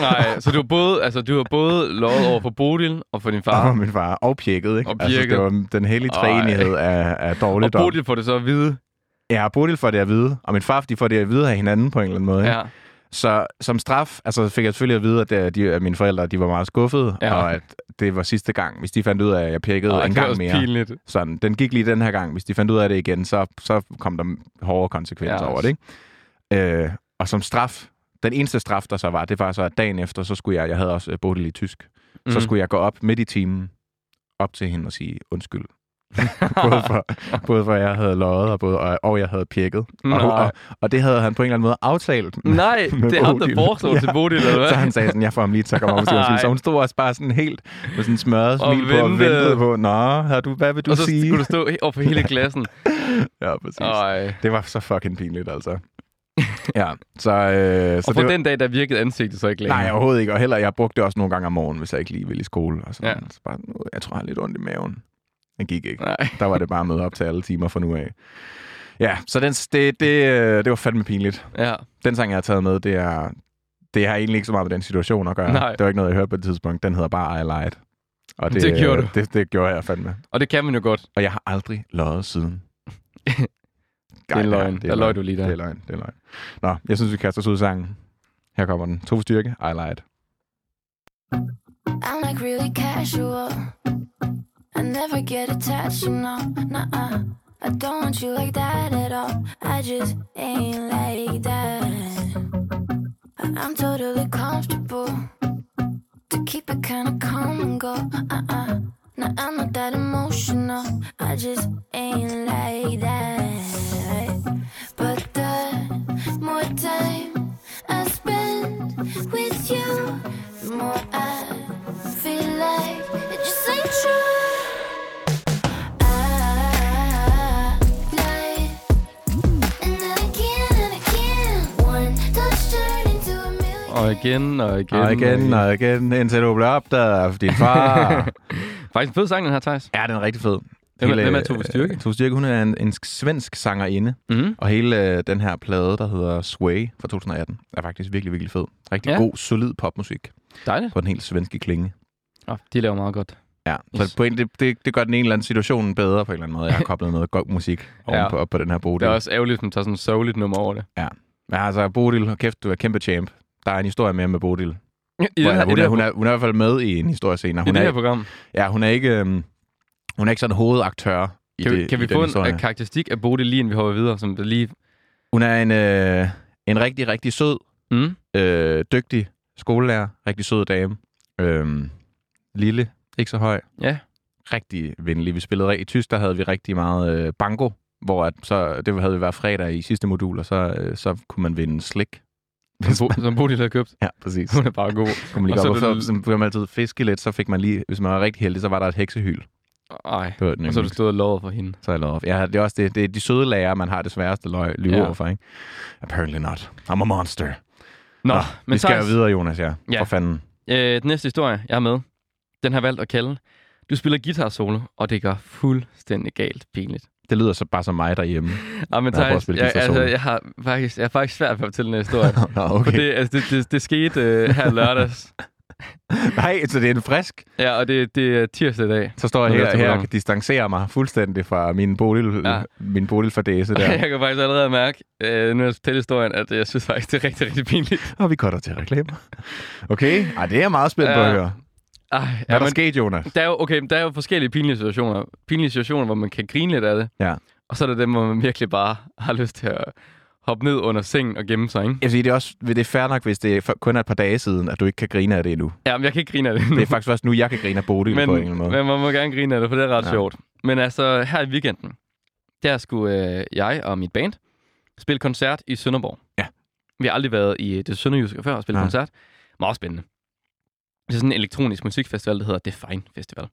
B: Nej, så du har både, altså, du har både lovet over for Bodil og for din
A: Der var
B: far.
A: min far. Og pjekket, ikke?
B: Og
A: Altså,
B: pjekket.
A: det var den hellige
B: Ej.
A: træenighed af, af
B: Og
A: dårligdom.
B: Bodil får det så at vide.
A: Ja, Bodil får det at vide. Og min far, de får det at vide af hinanden på en eller anden måde. Ikke?
B: Ja.
A: Så som straf, altså fik jeg selvfølgelig at vide, at, øh, de, at mine forældre de var meget skuffede, ja.
B: Ja.
A: og at det var sidste gang. Hvis de fandt ud af, at jeg pjekkede
B: Ej,
A: en
B: det er
A: gang
B: også
A: mere,
B: pinligt.
A: sådan, den gik lige den her gang. Hvis de fandt ud af det igen, så, så kom der hårdere konsekvenser
B: Ja,
A: over det. Ikke? Øh, og som straf, den eneste straf, der så var, det var så, at dagen efter, så skulle jeg, jeg havde også øh, Bodil i tysk, mm. så
B: Mm.
A: skulle jeg gå op midt i timen, op til hende og sige undskyld.
B: Mm.
A: både,
B: (laughs)
A: for, både for, at jeg havde løjet, og, både, og, og jeg havde pjekket.
B: Nå.
A: Og, og, og, det havde han på en eller anden måde aftalt. med-
B: Nej,
A: (laughs) med
B: det er ham, der
A: Bodil.
B: foreslog til Bodil, eller hvad?
A: (laughs) Så han sagde sådan, jeg får ham lige til at komme op og sige, undskyld. Så hun stod også bare sådan helt med sådan en smørret
B: Og
A: smil på og
B: ventede.
A: ventede på, Nå, havde du, hvad vil du
B: og så
A: sige?
B: skulle du stå he- over for hele klassen.
A: (laughs)
B: øh,
A: Ja, (laughs) præcis.
B: Ej.
A: Det var så fucking pinligt, altså.
B: (laughs)
A: Ja, så... Øh, så
B: Og på
A: det var,
B: den dag, der virkede ansigtet så ikke længere.
A: nej, overhovedet ikke. Og heller, jeg brugte det også nogle gange om morgenen, hvis jeg ikke lige ville i skole. Og sådan.
B: Ja.
A: Ja. Så bare, "Nu, jeg tror, jeg har lidt ondt i maven. Den gik ikke.
B: Nej.
A: Der var det bare at møde op til alle timer fra nu af. Ja, så den, det, det, øh, det var fandme pinligt.
B: Ja.
A: Den sang, jeg har taget med, det er... Det har egentlig ikke så meget med den situation at gøre.
B: Nej.
A: Det var ikke noget, jeg hørte på det tidspunkt. Den hedder bare I Lied. Og
B: Det gjorde du.
A: Det, det gjorde jeg fandme.
B: Og det kan man jo godt.
A: Og jeg har aldrig løjet siden.
B: (laughs) Det er en
A: Nej,
B: løgn.
A: det
B: Der løj du lige der.
A: Det er løgn, det er løgn. Nå, jeg synes, vi kaster os ud i sangen. Her kommer den. To for styrke, I lied.
D: I'm like really casual. I never get attached, you know. Nuh-uh. I don't want you like that at all. I just ain't like that. I- I'm totally comfortable to keep it kinda calm and go. Uh-uh. Now I'm not that emotional. I just ain't like that. But the more time I spend with you, the more I feel like it just ain't true. I lie. And then again and again, one touch turned into a million.
B: Og igen, og igen.
A: Og igen, og igen, indtil du bliver opdaget af din
B: (laughs)
A: far.
B: Faktisk en fed sang, den her, Thijs.
A: ja, den er rigtig fed.
B: Hvem er- hvem er Tove Styrke?
A: øh, Tove Styrke, hun er en, en svensk sangerinde.
B: Mm.
A: Og hele øh, den her plade, der hedder Sway fra 2018, er faktisk virkelig, virkelig fed. Rigtig
B: Ja.
A: ja. god, solid popmusik
B: Dejligt.
A: på den helt svenske klinge.
B: Oh, de laver meget godt.
A: Ja,
B: Yes.
A: så på en, det, det, det gør den en eller anden situation bedre på en eller anden måde.
B: (laughs)
A: Jeg har koblet noget god musik
B: Ja.
A: ja. på, op på den her
B: Det
A: bodil.
B: er også ærgerligt, at man tager sådan et sørgeligt nummer over det.
A: Men altså, Bodil, hold kæft, du er kæmpe champ. Der er en historie mere med Bodil.
B: I
A: Hvor
B: den her- i
A: hun,
B: det
A: er,
B: her-
A: hun, er, hun er i hvert fald med i en historie senere.
B: i
A: Hun
B: det her
A: er,
B: program.
A: ja, hun er ikke, øhm, hun er ikke sådan hovedaktør i
B: Kan, vi,
A: det,
B: kan
A: i
B: vi
A: den
B: få en
A: historie.
B: øh, karakteristik af Bodil, lige inden vi hopper videre, som det lige...
A: Hun er en, øh, en rigtig, rigtig sød,
B: Mm.
A: øh, dygtig skolelærer. Rigtig sød dame. Øhm, lille, ikke så høj.
B: Ja.
A: Rigtig venlig. Vi spillede i tysk, der havde vi rigtig meget øh, banko, hvor at, så, det havde vi hver fredag i sidste modul, og så, øh, så kunne man vinde slik.
B: (laughs) Som, Bo, som Bodil har købt.
A: (laughs) Ja,
B: (laughs)
A: præcis.
B: Hun er bare god.
A: kunne man lige
B: Og
A: gå op,
B: så
A: og så,
B: det-
A: så blev man altid fiske lidt, så fik man lige, hvis man var rigtig heldig, så var der et heksehyl.
B: Ej.
A: Det var den
B: Og så har du stået og lovet for hende.
A: Så er jeg lovet. Ja, det er også det, det er de søde lærere, man har det sværeste løg, lyve
B: Ja.
A: ja. overfor, ikke? Apparently not. I'm a monster.
B: Nå, Nå
A: Nå,
B: men
A: vi skal jo
B: Thijs,
A: videre, Jonas, ja.
B: Ja.
A: ja. For fanden.
B: øh, den næste historie, jeg har med, den har jeg valgt at kalde, du spiller guitar solo, og det gør fuldstændig galt pinligt.
A: Det lyder så bare som mig derhjemme.
B: Ah, men
A: Jeg har prøvet at
B: Thijs, jeg,
A: spille guitar
B: altså,
A: solo.
B: jeg, har faktisk, jeg har faktisk svært ved at fortælle den her
A: (laughs)
B: historie.
A: (laughs) Nå,
B: For
A: okay. Det...
B: det, altså, det, det, det skete øh, her lørdags.
A: Nej, så det er en frisk.
B: Ja, og det, det er tirsdag i dag.
A: Så står jeg
B: Det lyder
A: her,
B: til
A: her og
B: programmet.
A: kan distancere mig fuldstændig fra min bodil,
B: Ja.
A: ja. min bodil for dæse
B: (laughs)
A: der.
B: Jeg kan faktisk allerede mærke, øh, nu jeg fortæller historien, at jeg synes faktisk, det er rigtig, rigtig pinligt.
A: og vi cutter til reklamer. Okay, Ej, det er jeg meget spændt på
B: Ja.
A: at høre.
B: Ej,
A: Hvad er der sket, Jonas?
B: der er jo, okay, men der er jo forskellige pinlige situationer. Pinlige situationer, hvor man kan grine lidt af det.
A: Ja.
B: Og så er der dem, hvor man virkelig bare har lyst til at hoppe ned under sengen og gemme sig, ikke?
A: Jeg vil sige, det er, også, det er fair nok, hvis det er for- kun er et par dage siden, at du ikke kan grine af det endnu.
B: Ja, men jeg kan ikke grine af det nu. (laughs)
A: Det er faktisk først nu, jeg kan grine af Bodil
B: men,
A: på en eller anden måde.
B: men man må gerne grine af det, for det er ret ja.
A: Ja.
B: sjovt. Men altså, her i weekenden, der skulle øh, jeg og mit band spille koncert i Sønderborg.
A: Ja.
B: Vi har aldrig været i øh, det sønderjyske før og spille
A: Nej.
B: koncert. Meget spændende. Det er sådan en elektronisk musikfestival, der hedder Define Festival.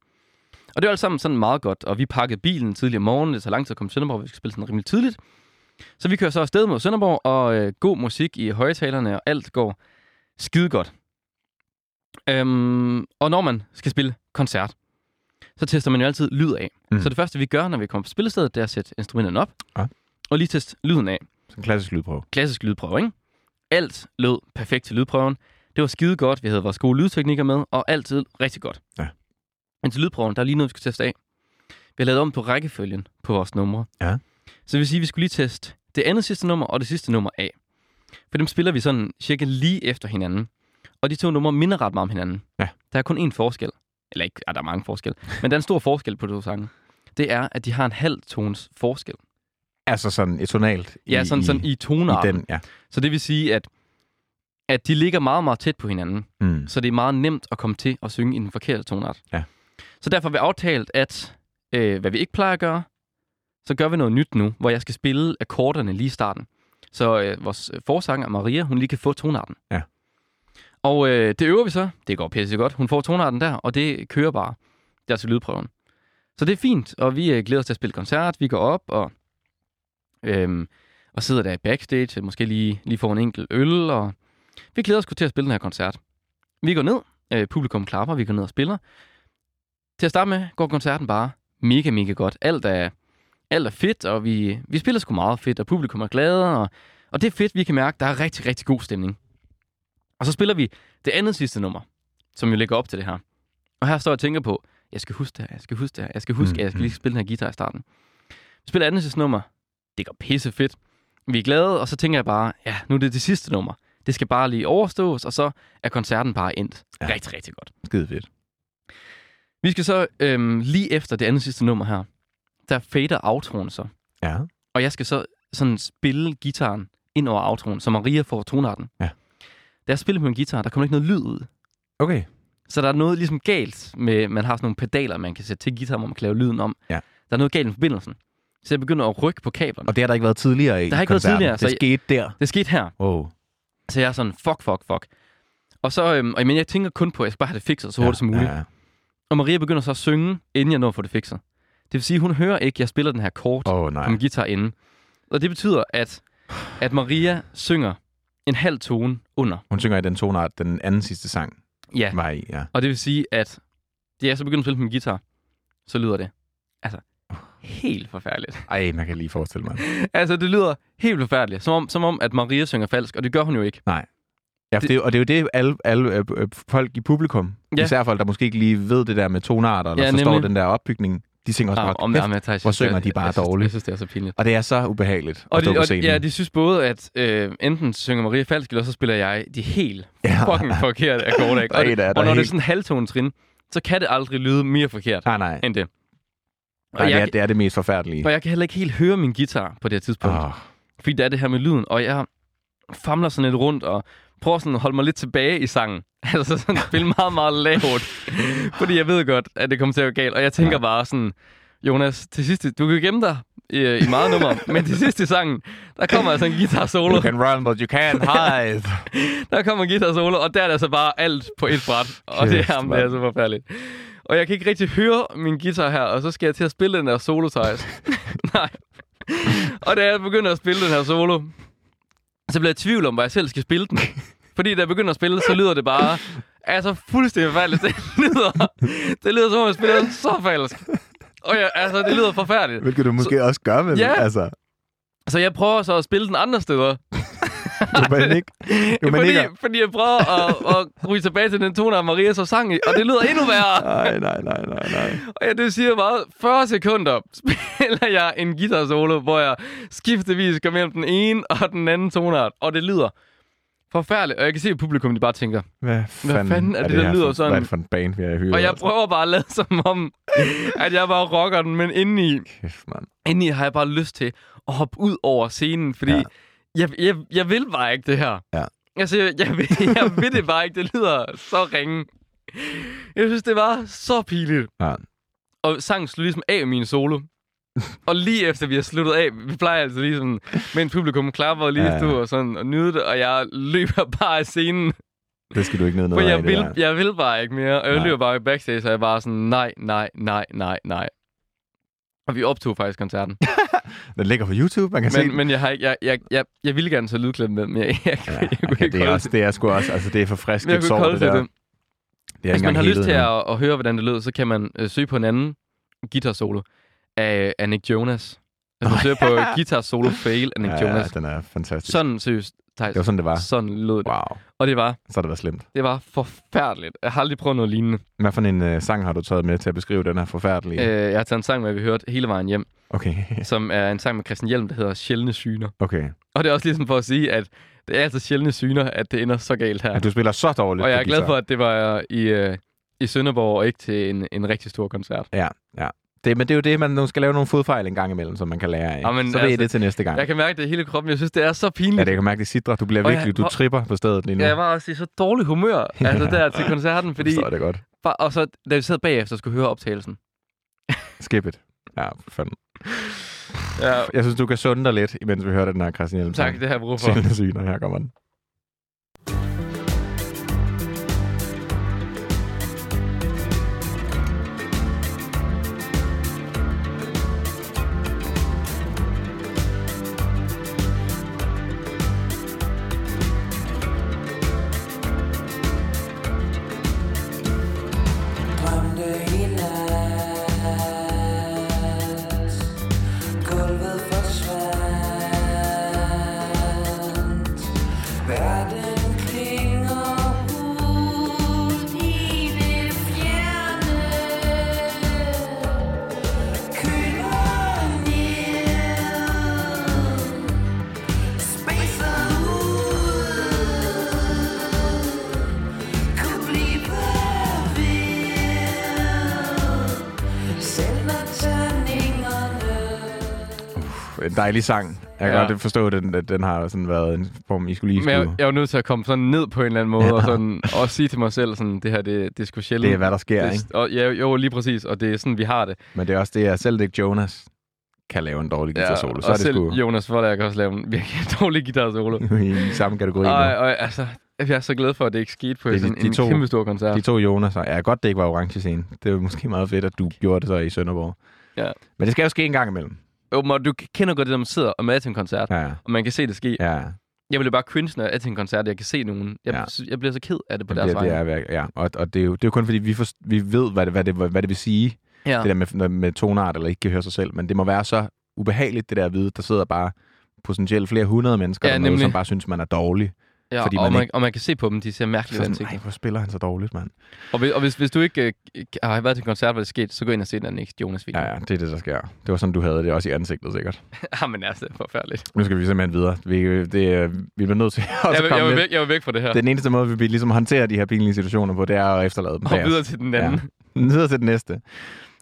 B: Og det var alt sammen sådan meget godt, og vi pakkede bilen tidligere om morgenen, det tager lang tid at komme til Sønderborg, vi skal spille sådan rimelig tidligt. Så vi kører så afsted mod Sønderborg, og øh, god musik i højtalerne, og alt går skide godt. Øhm, og når man skal spille koncert, så tester man jo altid lyd af. Mm.
A: Mm.
B: Så det første, vi gør, når vi kommer på spillestedet, det er at sætte instrumenterne op,
A: Ja.
B: og lige teste lyden af.
A: Som klassisk lydprøve.
B: Klassisk lydprøve, ikke? Alt lød perfekt til lydprøven. Det var skide godt, vi havde vores gode lydteknikker med, og altid rigtig godt.
A: Ja.
B: Men til lydprøven, der er lige noget, vi skulle teste af. Vi har lavet om på rækkefølgen på vores numre.
A: Ja.
B: Så det vil sige, at vi skulle lige teste det andet sidste nummer og det sidste nummer af. For dem spiller vi sådan cirka lige efter hinanden. Og de to numre minder ret meget om hinanden.
A: Ja.
B: Der er kun én forskel. Eller ikke, ja, der er mange forskel. Men der er en stor forskel på de to sange. Det er, at de har en halv tones forskel.
A: Altså sådan et tonalt.
B: Ja, sådan, sådan i
A: i
B: tonearten.
A: den, ja.
B: Så det vil sige, at, at de ligger meget, meget tæt på hinanden.
A: Mm.
B: Så det er meget nemt at komme til at synge i den forkerte tonart.
A: Ja.
B: Så derfor har vi aftalt, at øh, hvad vi ikke plejer at gøre, så gør vi noget nyt nu, hvor jeg skal spille akkorderne lige i starten. Så øh, vores øh, forsanger Maria, hun lige kan få tonarten.
A: Ja.
B: Og øh, det øver vi så. Det går pisse godt. Hun får tonarten der, og det kører bare. Der til lydprøven. Så det er fint, og vi øh, glæder os til at spille koncert. Vi går op og, øhm, og sidder der i backstage, måske lige, lige får en enkelt øl, og vi glæder os sgu til at spille den her koncert. Vi går ned, øh, publikum klapper, vi går ned og spiller. Til at starte med går koncerten bare mega, mega godt. Alt er, alt er fedt, og vi, vi spiller sgu meget fedt, og publikum er glade, og, og det er fedt, vi kan mærke, der er rigtig, rigtig god stemning. Og så spiller vi det andet sidste nummer, som jo ligger op til det her. Og her står jeg og tænker på, jeg skal huske det her, jeg skal huske det her, jeg skal huske, at jeg skal lige spille den her guitar i starten. Vi spiller andet sidste nummer, det går pisse fedt. Vi er glade, og så tænker jeg bare, ja, nu er det det sidste nummer. Det skal bare lige overstås, og så er koncerten bare endt.
A: Ja.
B: Ja. Rigtig, rigtig godt.
A: Skide fedt.
B: Vi skal så øhm, lige efter det andet sidste nummer her, der fader outroen så.
A: Ja.
B: Og jeg skal så sådan spille gitaren ind over outroen, så Maria får tonarten.
A: Ja.
B: Da jeg spiller på en guitar, der kommer ikke noget lyd ud.
A: Okay.
B: Så der er noget ligesom galt med, man har sådan nogle pedaler, man kan sætte til guitar, hvor man kan lave lyden om.
A: Ja.
B: Der er noget galt med forbindelsen. Så jeg begynder at rykke på kablerne.
A: Og det har der ikke været tidligere i
B: Der har ikke været
A: koncerten.
B: tidligere,
A: Det
B: så-
A: skete der.
B: Det skete her.
A: Wow.
B: Så jeg er sådan, fuck, fuck, fuck. Og så, øhm, og, men jeg tænker kun på, at jeg skal bare have det fikset så hurtigt ja, som muligt.
A: Ja.
B: Og Maria begynder så at synge, inden jeg når at få det fikset. Det vil sige, hun hører ikke, at jeg spiller den her kort.
A: Åh, oh, nej.
B: på min guitar inden. Og det betyder, at, at Maria synger en halv tone under.
A: Hun synger i den tonart, den anden sidste sang
B: Ja.
A: var i. Ja.
B: Og det vil sige, at det er så begyndt at spille på min guitar, så lyder det. Altså, helt forfærdeligt. (laughs)
A: Ej, man kan lige forestille mig.
B: Altså, det lyder helt forfærdeligt. Som om, som om at Maria synger falsk, og det gør hun jo ikke.
A: Ja, for det, og det er jo det, alle, alle øh, øh, folk i publikum, ja.
B: Ja.
A: især folk, der måske ikke lige ved det der med tonarter, eller ja,
B: Ja,
A: forstår
B: nemlig.
A: den der opbygning, de tænker også
B: Ah,
A: bare, kæft,
B: med, Thijs,
A: hvor
B: jeg synes,
A: synger
B: det-
A: de bare
B: jeg synes,
A: dårligt.
B: Jeg synes, det er så pinligt.
A: Og det er så ubehageligt at
B: Og,
A: stå
B: de,
A: på
B: og
A: scenen.
B: ja, de synes både, at øh, enten synger Maria falsk, eller så spiller jeg de helt
A: Ja.
B: fucking forkerte akkorder. ikke?
A: (laughs) Ej,
B: Og,
A: der er
B: det,
A: der
B: og når det er
A: helt-
B: sådan en halvtonetrin, så kan det aldrig lyde mere forkert.
A: Nej, Ah, nej.
B: end det. Og,
A: nej det,
B: jeg,
A: er, det er det mest forfærdelige.
B: og jeg kan heller ikke helt høre min guitar på det her tidspunkt,
A: Åh,
B: fordi der er det her med lyden, og jeg famler sådan lidt rundt og prøver sådan at holde mig lidt tilbage i sangen. (laughs) Altså sådan spille meget, meget
A: (laughs)
B: lavt, fordi jeg ved godt, at det kommer til at gå galt, og jeg tænker
A: Ja.
B: ja. bare sådan, Jonas, til sidst, i- du kan jo gemme dig øh, i, i meget nummer,
A: (laughs)
B: men til sidst i sangen, der kommer altså en guitar solo,
A: You can run, but you
B: (laughs)
A: can't hide.
B: der kommer en guitar solo, og der er det altså bare alt på et bræt, og det
A: Kæft,
B: er, jamen, det er
A: mand.
B: så forfærdeligt. Og jeg kan ikke rigtig høre min guitar her, og så skal jeg til at spille den der solo
A: (laughs)
B: Thijs. Nej. Og da jeg begynder at spille den her solo, så bliver jeg i tvivl om, hvor jeg selv skal spille den. Fordi da jeg begynder at spille, så lyder det bare altså fuldstændig forfærdeligt. Det lyder, det lyder som om, jeg spiller så falsk. Og jeg, altså, det lyder forfærdeligt.
A: Hvilket du måske også gør, men
B: Ja.
A: altså,
B: Så jeg prøver så at spille den andre steder,
A: du panik. Du
B: fordi, fordi jeg prøver at, at ryge tilbage til den tone, Maria så sang i, og det lyder endnu værre.
A: Nej, nej, nej, nej, nej.
B: Og ja, det siger bare, 40 sekunder spiller jeg en guitar solo, hvor jeg skiftevis går mellem den ene og den anden tonart, og det lyder forfærdeligt. Og jeg kan se, at publikum de bare tænker.
A: Hvad fanden,
B: fanden er det, der
A: her
B: lyder
A: for,
B: sådan?
A: Hvad er det for en band, vi har hyret?
B: Og jeg prøver bare at lade som om, at jeg bare rocker den, men indeni,
A: Kæft, mand.
B: indeni har jeg bare lyst til at hoppe ud over scenen, fordi
A: Ja.
B: ja. jeg, jeg, jeg vil bare ikke det her.
A: Ja.
B: Altså, jeg, jeg, vil, (laughs) jeg vil det bare ikke. Det lyder så ringe. Jeg synes, det var så pinligt.
A: Ja.
B: Og sangen slutter ligesom af med min
A: (laughs)
B: solo. og lige efter vi har sluttet af, vi plejer altså lige sådan, mens publikum klapper og lige
A: Ja, ja.
B: ja. stod og sådan og nyde det, og jeg løber (laughs) bare af scenen,
A: Det skal du ikke ned ned
B: for
A: af,
B: jeg
A: det
B: vil,
A: der.
B: jeg vil bare ikke mere. Og jeg
A: Nej.
B: løber bare i backstage, og jeg er bare sådan, nej, nej, nej, nej, nej. Og vi optog faktisk koncerten.
A: Den ligger på YouTube, man kan se den.
B: Men, men jeg har ikke, jeg, jeg, jeg, jeg ville gerne tage lydklip med, men jeg, jeg, (laughs) jeg,
A: Ja,
B: jeg, jeg kunne
A: okay,
B: ikke
A: det, er
B: holde
A: også, det er sgu også, altså det er for frisk,
B: jeg kunne
A: det
B: ikke
A: sår,
B: holde
A: det
B: til
A: der.
B: det.
A: Det er
B: Hvis man har lyst til
A: at...
B: at, at høre, hvordan det lød, så kan man øh, søge på en anden guitar solo af, af Nick Jonas. Hvis man søger på guitar solo fail af Nick
A: Ja,
B: ja,
A: ja,
B: Jonas.
A: den er fantastisk.
B: Sådan seriøst, Thijs.
A: Det var sådan, det var.
B: Sådan lød det.
A: Wow,
B: Og det var,
A: så har det været slemt.
B: det var forfærdeligt. Jeg har aldrig prøvet noget lignende.
A: Hvad for en uh, sang har du taget med til at beskrive den her forfærdelige...
B: Øh, jeg har taget en sang med, vi hørte hele vejen hjem,
A: Okay, (laughs)
B: som er en sang med Christian Hjelm, der hedder Sjældne Syner.
A: okay.
B: Og det er også ligesom for at sige, at det er altså sjældne syner, at det ender så galt her.
A: Ja, du spiller så dårligt.
B: Og jeg
A: på
B: er glad
A: guitar.
B: for, at det var i, øh, i Sønderborg, og ikke til en, en rigtig stor koncert.
A: Ja, ja. Det, men det er jo det, man nu skal lave nogle fodfejl en gang imellem, som man kan lære af.
B: Ja, men
A: så ved altså,
B: altså,
A: det til næste gang.
B: Jeg
A: Kan...
B: kan mærke det i hele kroppen. Jeg synes, det er så pinligt.
A: Ja, det jeg kan mærke, det sidder. Du bliver
B: Og jeg-
A: virkelig, du
B: hvor-
A: tripper på stedet lige nu.
B: Ja, jeg var også i så dårlig
A: (laughs)
B: humør, altså der til
A: fordi...
B: koncerten, fordi...
A: Forstår jeg det godt.
B: Bare, og så, da vi sad bagefter og skulle høre optagelsen,
A: Skip it. Ja, for fanden.
B: Ja,
A: Jeg synes, du kan sunde dig lidt, imens vi hører den her Christian Hjelm.
B: tak, det har jeg brug for.
A: (laughs) Sjældne syner, her kommer den.
E: Drømte i nat Gulvet forsvandt Verden klinger ud i det fjerne Køler ned Spacer ud kunne blive ved. Selv når terningerne
A: En dejlig sang. Jeg kan
B: Ja.
A: godt forstå, at den, at den har sådan været en form, I skulle lige
B: Men jeg,
A: skulle.
B: jeg var nødt til at komme sådan ned på en eller anden måde, og, sådan, og sige til mig selv, sådan, det her, det, det er sgu sjældent.
A: Det er, hvad der sker,
B: Det-
A: ikke?
B: Og, ja, jo, lige præcis, og det er sådan, vi har det.
A: Men det er også det, at selv Dick Jonas kan lave en dårlig guitar solo. Så er
B: og
A: det
B: selv
A: sgu
B: Jonas Voller kan også lave en virkelig (laughs) dårlig guitar solo.
A: (laughs) i samme kategori. nu.
B: Og, og altså, jeg er så glad for, at det ikke skete på
A: Det er
B: det,
A: de-
B: sådan,
A: de
B: en
A: to-
B: kæmpe stor koncert.
A: De to Jonas, ja, godt det ikke var orange scene. Det var måske meget fedt, at du gjorde det så i Sønderborg.
B: Ja.
A: Men det skal jo ske en gang imellem.
B: Jo, og du kender godt det, når man sidder og med til en koncert, ja.
A: Ja, ja.
B: og man kan se det ske. Ja.
A: ja.
B: Jeg ville bare cringe, når jeg er til en koncert, jeg kan se nogen. Jeg,
A: Ja.
B: ja. jeg bliver så ked af det på
A: Det,
B: deres
A: det, det
B: vej.
A: er, virke- ja. Og, og det, er jo, det er jo kun fordi, vi, for, vi ved, hvad det, hvad, det, hvad det vil sige,
B: Ja.
A: ja. det der med, med tonart, eller ikke kan høre sig selv. Men det må være så ubehageligt, det der at vide, der sidder bare potentielt flere hundrede mennesker,
B: Ja,
A: ja, dernede,
B: nemlig.
A: som bare synes, man er dårlig.
B: ja,
A: fordi
B: og,
A: man
B: man,
A: ikke-
B: og man kan se på dem, de ser
A: Så
B: mærkeligt
A: sådan,
B: ansigt.
A: Ej, hvor spiller han så dårligt, mand.
B: Og, hvis, og hvis, hvis du ikke øh, k- har været til en koncert, hvor det skete, så gå ind og se den næste Jonas-video.
A: Ja,
B: (laughs)
A: ja, det er det, der sker. Det var sådan, du havde det også i ansigtet, sikkert.
B: ja. men altså, det er forfærdeligt.
A: Nu skal vi simpelthen videre. Vi, det, er- vi bliver nødt til (laughs) at
B: Jeg,
A: også
B: vil- jeg,
A: komme
B: var
A: lidt.
B: væk, jeg var væk fra det her.
A: Den eneste måde, vi ligesom håndterer de her pinlige situationer på, det er at efterlade dem. bag
B: og
A: os.
B: videre til den anden. Ja.
A: Ja. (laughs) Videre til den næste.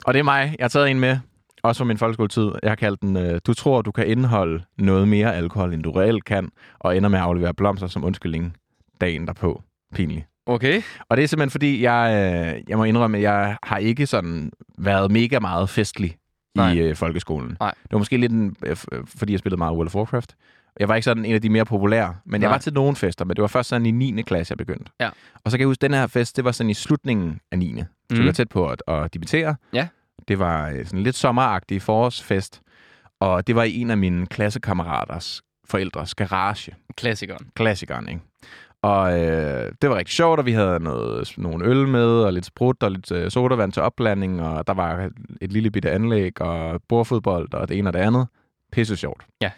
A: Og det er mig. Jeg har taget en med, også fra min folkeskoletid. Jeg har kaldt den, øh, du tror, du kan indeholde noget mere alkohol, end du reelt kan, og ender med at aflevere blomster som undskyldning dagen derpå. Pinligt.
B: Okay.
A: Og det er simpelthen fordi, jeg, øh, jeg må indrømme, at jeg har ikke sådan været mega meget festlig
B: Nej.
A: i øh, folkeskolen.
B: Nej.
A: Det var måske lidt, en, øh, f- øh, fordi jeg spillede meget World of Warcraft. Jeg var ikke sådan en af de mere populære, men jeg
B: Nej.
A: var til nogle fester, men det var først sådan i 9. klasse, jeg begyndte.
B: Ja.
A: Og så kan jeg huske, at den her fest, det var sådan i slutningen af 9. Så mm.
B: Mhm.
A: vi var tæt på at, at debutere.
B: Ja.
A: Det var øh, sådan lidt sommeragtig forårsfest, og det var i en af mine klassekammeraters forældres garage
B: Klassikeren.
A: klassikeren, ikke? Og øh, det var rigtig sjovt, og vi havde noget, nogle øl med, og lidt sprut, og lidt øh, sodavand til opblanding, og der var et lille bitte anlæg, og bordfodbold, og det ene og det andet. Pisse sjovt.
B: Ja.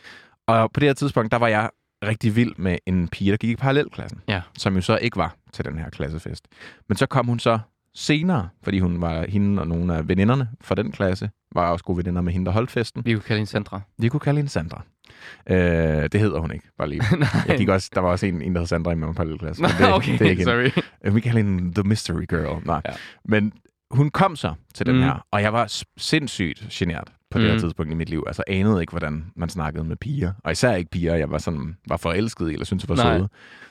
A: Og på det her tidspunkt, der var jeg rigtig vild med en pige, der gik i parallelklassen,
B: Ja.
A: som jo så ikke var til den her klassefest. Men så kom hun så senere, fordi hun var hende og nogle af veninderne fra den klasse, var også gode veninder med hende, der holdt festen.
B: Vi kunne kalde hende Sandra.
A: Vi kunne kalde hende Sandra. Øh, det hedder hun ikke,
B: (laughs)
A: bare lige. Jeg gik også, der var også en, en der hed Sandra i min parallelklasse. men
B: Nej, (laughs) okay,
A: det er ikke hende.
B: sorry.
A: Øh, Vi kalder hende The Mystery Girl. Nej.
B: Ja.
A: Ja. Men hun kom så til den
B: Mm.
A: mm. her, og jeg var s- sindssygt genert på det her
B: Mm.
A: tidspunkt i mit liv. Altså anede ikke, hvordan man snakkede med piger. Og især ikke piger, jeg var sådan var forelsket i, eller syntes, jeg var
B: Nej.
A: søde.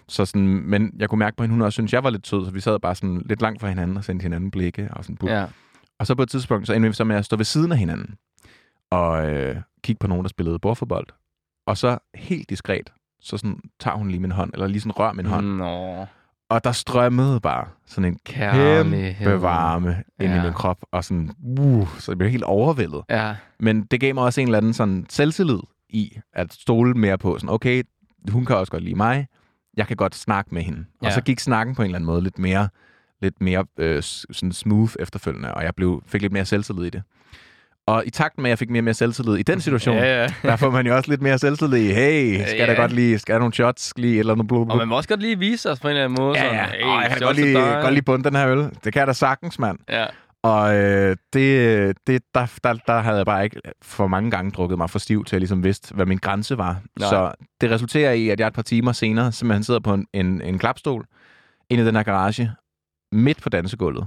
A: Så sådan, men jeg kunne mærke på hende, hun også syntes, jeg var lidt sød, så vi sad bare sådan lidt langt fra hinanden og sendte hinanden blikke. Og, sådan, ja.
B: Ja.
A: og så på et tidspunkt, så endte vi så med at stå ved siden af hinanden og øh, kigge på nogen, der spillede bordfodbold. Og så helt diskret, så sådan, tager hun lige min hånd, eller lige sådan rør min
B: Mm.
A: hånd.
B: Nå.
A: Og der strømmede bare sådan en
B: Kærlighed.
A: kæmpe varme ind
B: Ja.
A: i min krop, og sådan, uh, så jeg blev helt overvældet.
B: Ja.
A: Men det gav mig også en eller anden sådan selvtillid i at stole mere på, sådan, okay, hun kan også godt lide mig, jeg kan godt snakke med hende. Ja.
B: Ja.
A: Og så gik snakken på en eller anden måde lidt mere, lidt mere øh, s- sådan smooth efterfølgende, og jeg blev, fik lidt mere selvtillid i det. Og i takt med, at jeg fik mere og mere selvtillid i den situation,
B: Ja, ja.
A: der får man jo også lidt mere selvtillid i, hey, skal
B: Ja.
A: der godt lige, skal der nogle shots, lige et eller andet blub,
B: Og man må også godt lige vise os på en eller anden måde.
A: Ja,
B: sådan,
A: ja.
B: "Hey,
A: Åh, jeg kan da
B: sjovt
A: godt
B: til
A: lige,
B: dig."
A: godt lige bunde den her øl. Det kan jeg da sagtens, mand.
B: Ja.
A: Og øh, det, det, der, der, der havde jeg bare ikke for mange gange drukket mig for stiv til at ligesom vidste, hvad min grænse var.
B: Nej.
A: Nej. Så det resulterer i, at jeg et par timer senere simpelthen sidder på en, en, en klapstol inde i den her garage, midt på dansegulvet.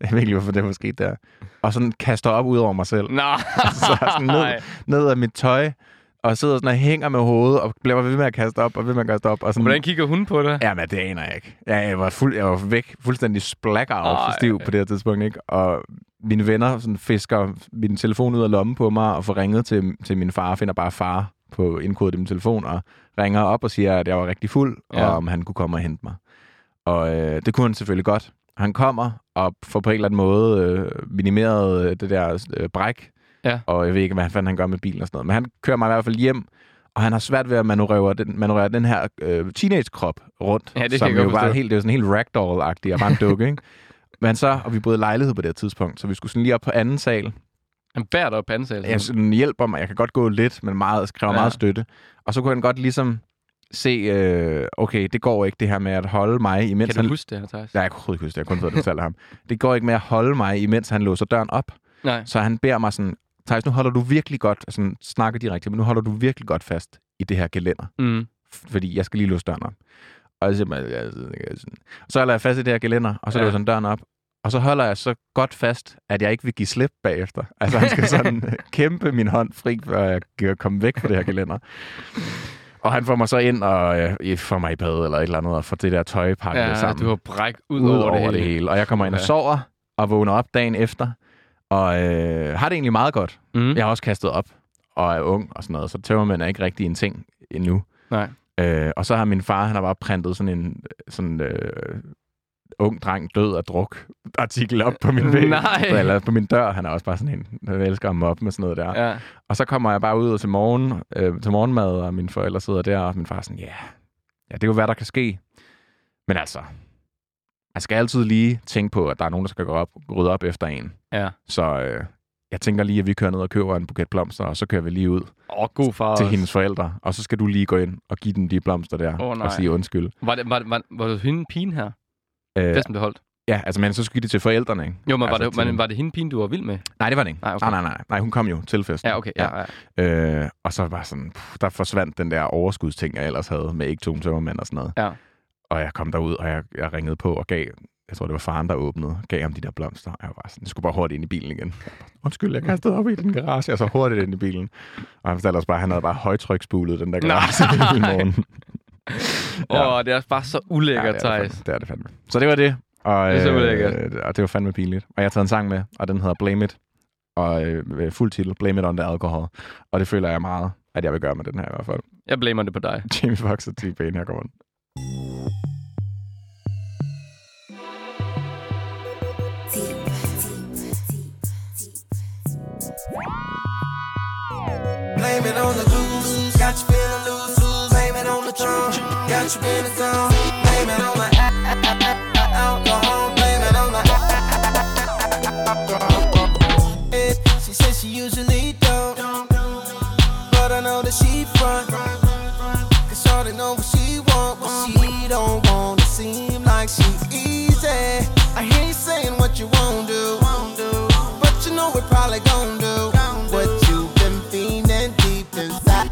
A: jeg ved ikke, lige, hvorfor det var sket
B: (laughs)
A: der. Og sådan kaster op ud over mig selv.
B: Nej.
A: Så sådan ned, ned af mit tøj og sidder sådan og hænger med hovedet, og bliver ved med at kaste op, og ved med at kaste op. Og sådan,
B: Hvordan kigger hun på det?
A: Jamen, det aner jeg ikke. Jeg, jeg, var, fuld, jeg var væk, fuldstændig
B: Ej.
A: splacker stiv på det her tidspunkt, ikke? Og mine venner sådan, fisker min telefon ud af lommen på mig, og får ringet til, til min far, finder bare far på indkodet i min telefon, og ringer op og siger, at jeg var rigtig fuld,
B: Ja.
A: ja. og om han kunne komme og hente mig. Og øh, det kunne han selvfølgelig godt. Han kommer og får på en eller anden måde øh, minimeret øh, det der øh, bræk,
B: Ja.
A: og jeg ved ikke, hvad fanden han gør med bilen og sådan noget. Men han kører mig i hvert fald hjem, og han har svært ved at manøvrere den, manøvrere den her øh, teenage-krop rundt,
B: Ja, det kan
A: som
B: jeg
A: jo
B: godt
A: bare er
B: forstå.
A: helt, det er jo sådan helt ragdoll-agtig, og bare en dukke, ikke? Men så, og vi boede i lejlighed på det her tidspunkt, så vi skulle sådan lige op på anden sal.
B: Han bærer dig op på ansættelsen.
A: Jeg sådan, hjælper mig, jeg kan godt gå lidt, men meget, kræver
B: Ja.
A: ja. meget støtte. Og så kunne han godt ligesom se, øh, okay, det går ikke det her med at holde mig, imens
B: kan du
A: han
B: huske det her, Thijs?
A: Ja, jeg kunne overhovedet ikke huske det. Jeg har kun fået det fortalt af ham. Det går ikke med at holde mig, imens han låser døren op.
B: Nej.
A: Så han beder mig sådan, Thijs, nu holder du virkelig godt, altså han snakker direkte, men nu holder du virkelig godt fast i det her gelænder,
B: Mm.
A: f- fordi jeg skal lige låse døren op. Og jeg siger, "Men, ja, sådan, ja, sådan." så holder jeg fast i det her gelænder, og så
B: Ja.
A: ja. låser han døren op. Og så holder jeg så godt fast, at jeg ikke vil give slip bagefter. Altså han skal
B: (laughs)
A: sådan kæmpe min hånd fri, før jeg kan komme væk fra det her gelænder. Og han får mig så ind og øh, får mig i bad eller et eller andet, og får det der tøj pakket
B: Ja,
A: sammen
B: du har bræk ud,
A: ud over, over det, hele. Og jeg kommer ind og
B: Ja.
A: sover, og vågner op dagen efter, og øh, har det egentlig meget godt.
B: Mm.
A: Jeg har også kastet op, og er ung og sådan noget, så tømmermænd er ikke rigtig en ting endnu.
B: Nej.
A: Øh, og så har min far, han har bare printet sådan en sådan, øh, ung dreng død af druk artikel op på min væg.
B: Nej.
A: Eller på min dør. Han er også bare sådan en, han elsker at mobbe med sådan noget der.
B: Ja.
A: Og så kommer jeg bare ud til, morgen, øh, til morgenmad, og mine forældre sidder der, og min far er sådan, ja, ja, det er jo, hvad der kan ske. Men altså, man skal altid lige tænke på, at der er nogen, der skal gå op, rydde op efter en.
B: Ja.
A: Så øh, jeg tænker lige, at vi kører ned og køber en buket blomster, og så kører vi lige ud
B: Åh, god far
A: til
B: også.
A: hendes forældre, og så skal du lige gå ind og give dem de blomster der,
B: Åh, nej.
A: og sige undskyld.
B: Var det, var, det- var, var det hende pigen her?
A: Øh,
B: Ja. Det, som det holdt.
A: ja, altså, men så skal det til forældrene, ikke?
B: Jo, men var,
A: Altså,
B: det,
A: til-
B: men, var det hende pigen, du var vild med?
A: Nej, det var det ikke.
B: Nej,
A: Nej,
B: okay.
A: okay. nej, nej, nej, nej. hun kom jo til festen.
B: Ja, okay. Ja, ja.
A: Øh, og så var sådan, puh, der forsvandt den der overskudsting, jeg ellers havde med ikke tom tømmermænd og sådan noget.
B: Ja.
A: Og jeg kom derud, og jeg, jeg ringede på og gav, jeg tror det var faren, der åbnede, gav ham de der blomster. Og jeg var sådan, jeg skulle bare hurtigt ind i bilen igen. Jeg var sådan, Undskyld, jeg kastede op i den garage, og så hurtigt ind i bilen. Og han fortalte også bare, at han havde bare højtryksspulet den der garage
B: (laughs)
A: i morgen.
B: Åh, det er bare så ulækkert,
A: det, er det,
B: Thijs.
A: fandme. det er det fandme. Så det var det. Og,
B: Det er så
A: øh,
B: ulækkert.
A: og det var fandme pinligt. Og jeg har taget en sang med, og den hedder Blame It. Og øh, fuld titel, Blame It on the Alcohol. Og det føler jeg meget, at jeg vil gøre med den her i hvert fald.
B: Jeg blamer det på dig.
A: Jamie Foxx og T-Pain, her kommer den.
F: Blame it on the goose. Got you feeling loose. loose. Blame it on the drunk. Got you feeling gone. Blame it on the a- a- a- a- alcohol. Blame it on the a- a- a- alcohol. She says she usually don't. But I know that she front. Cause Shorty know what she want, but she don't want to seem like she easy. I hear you saying what you won't do, but you know we're probably gon' do what you've been feeling deep inside.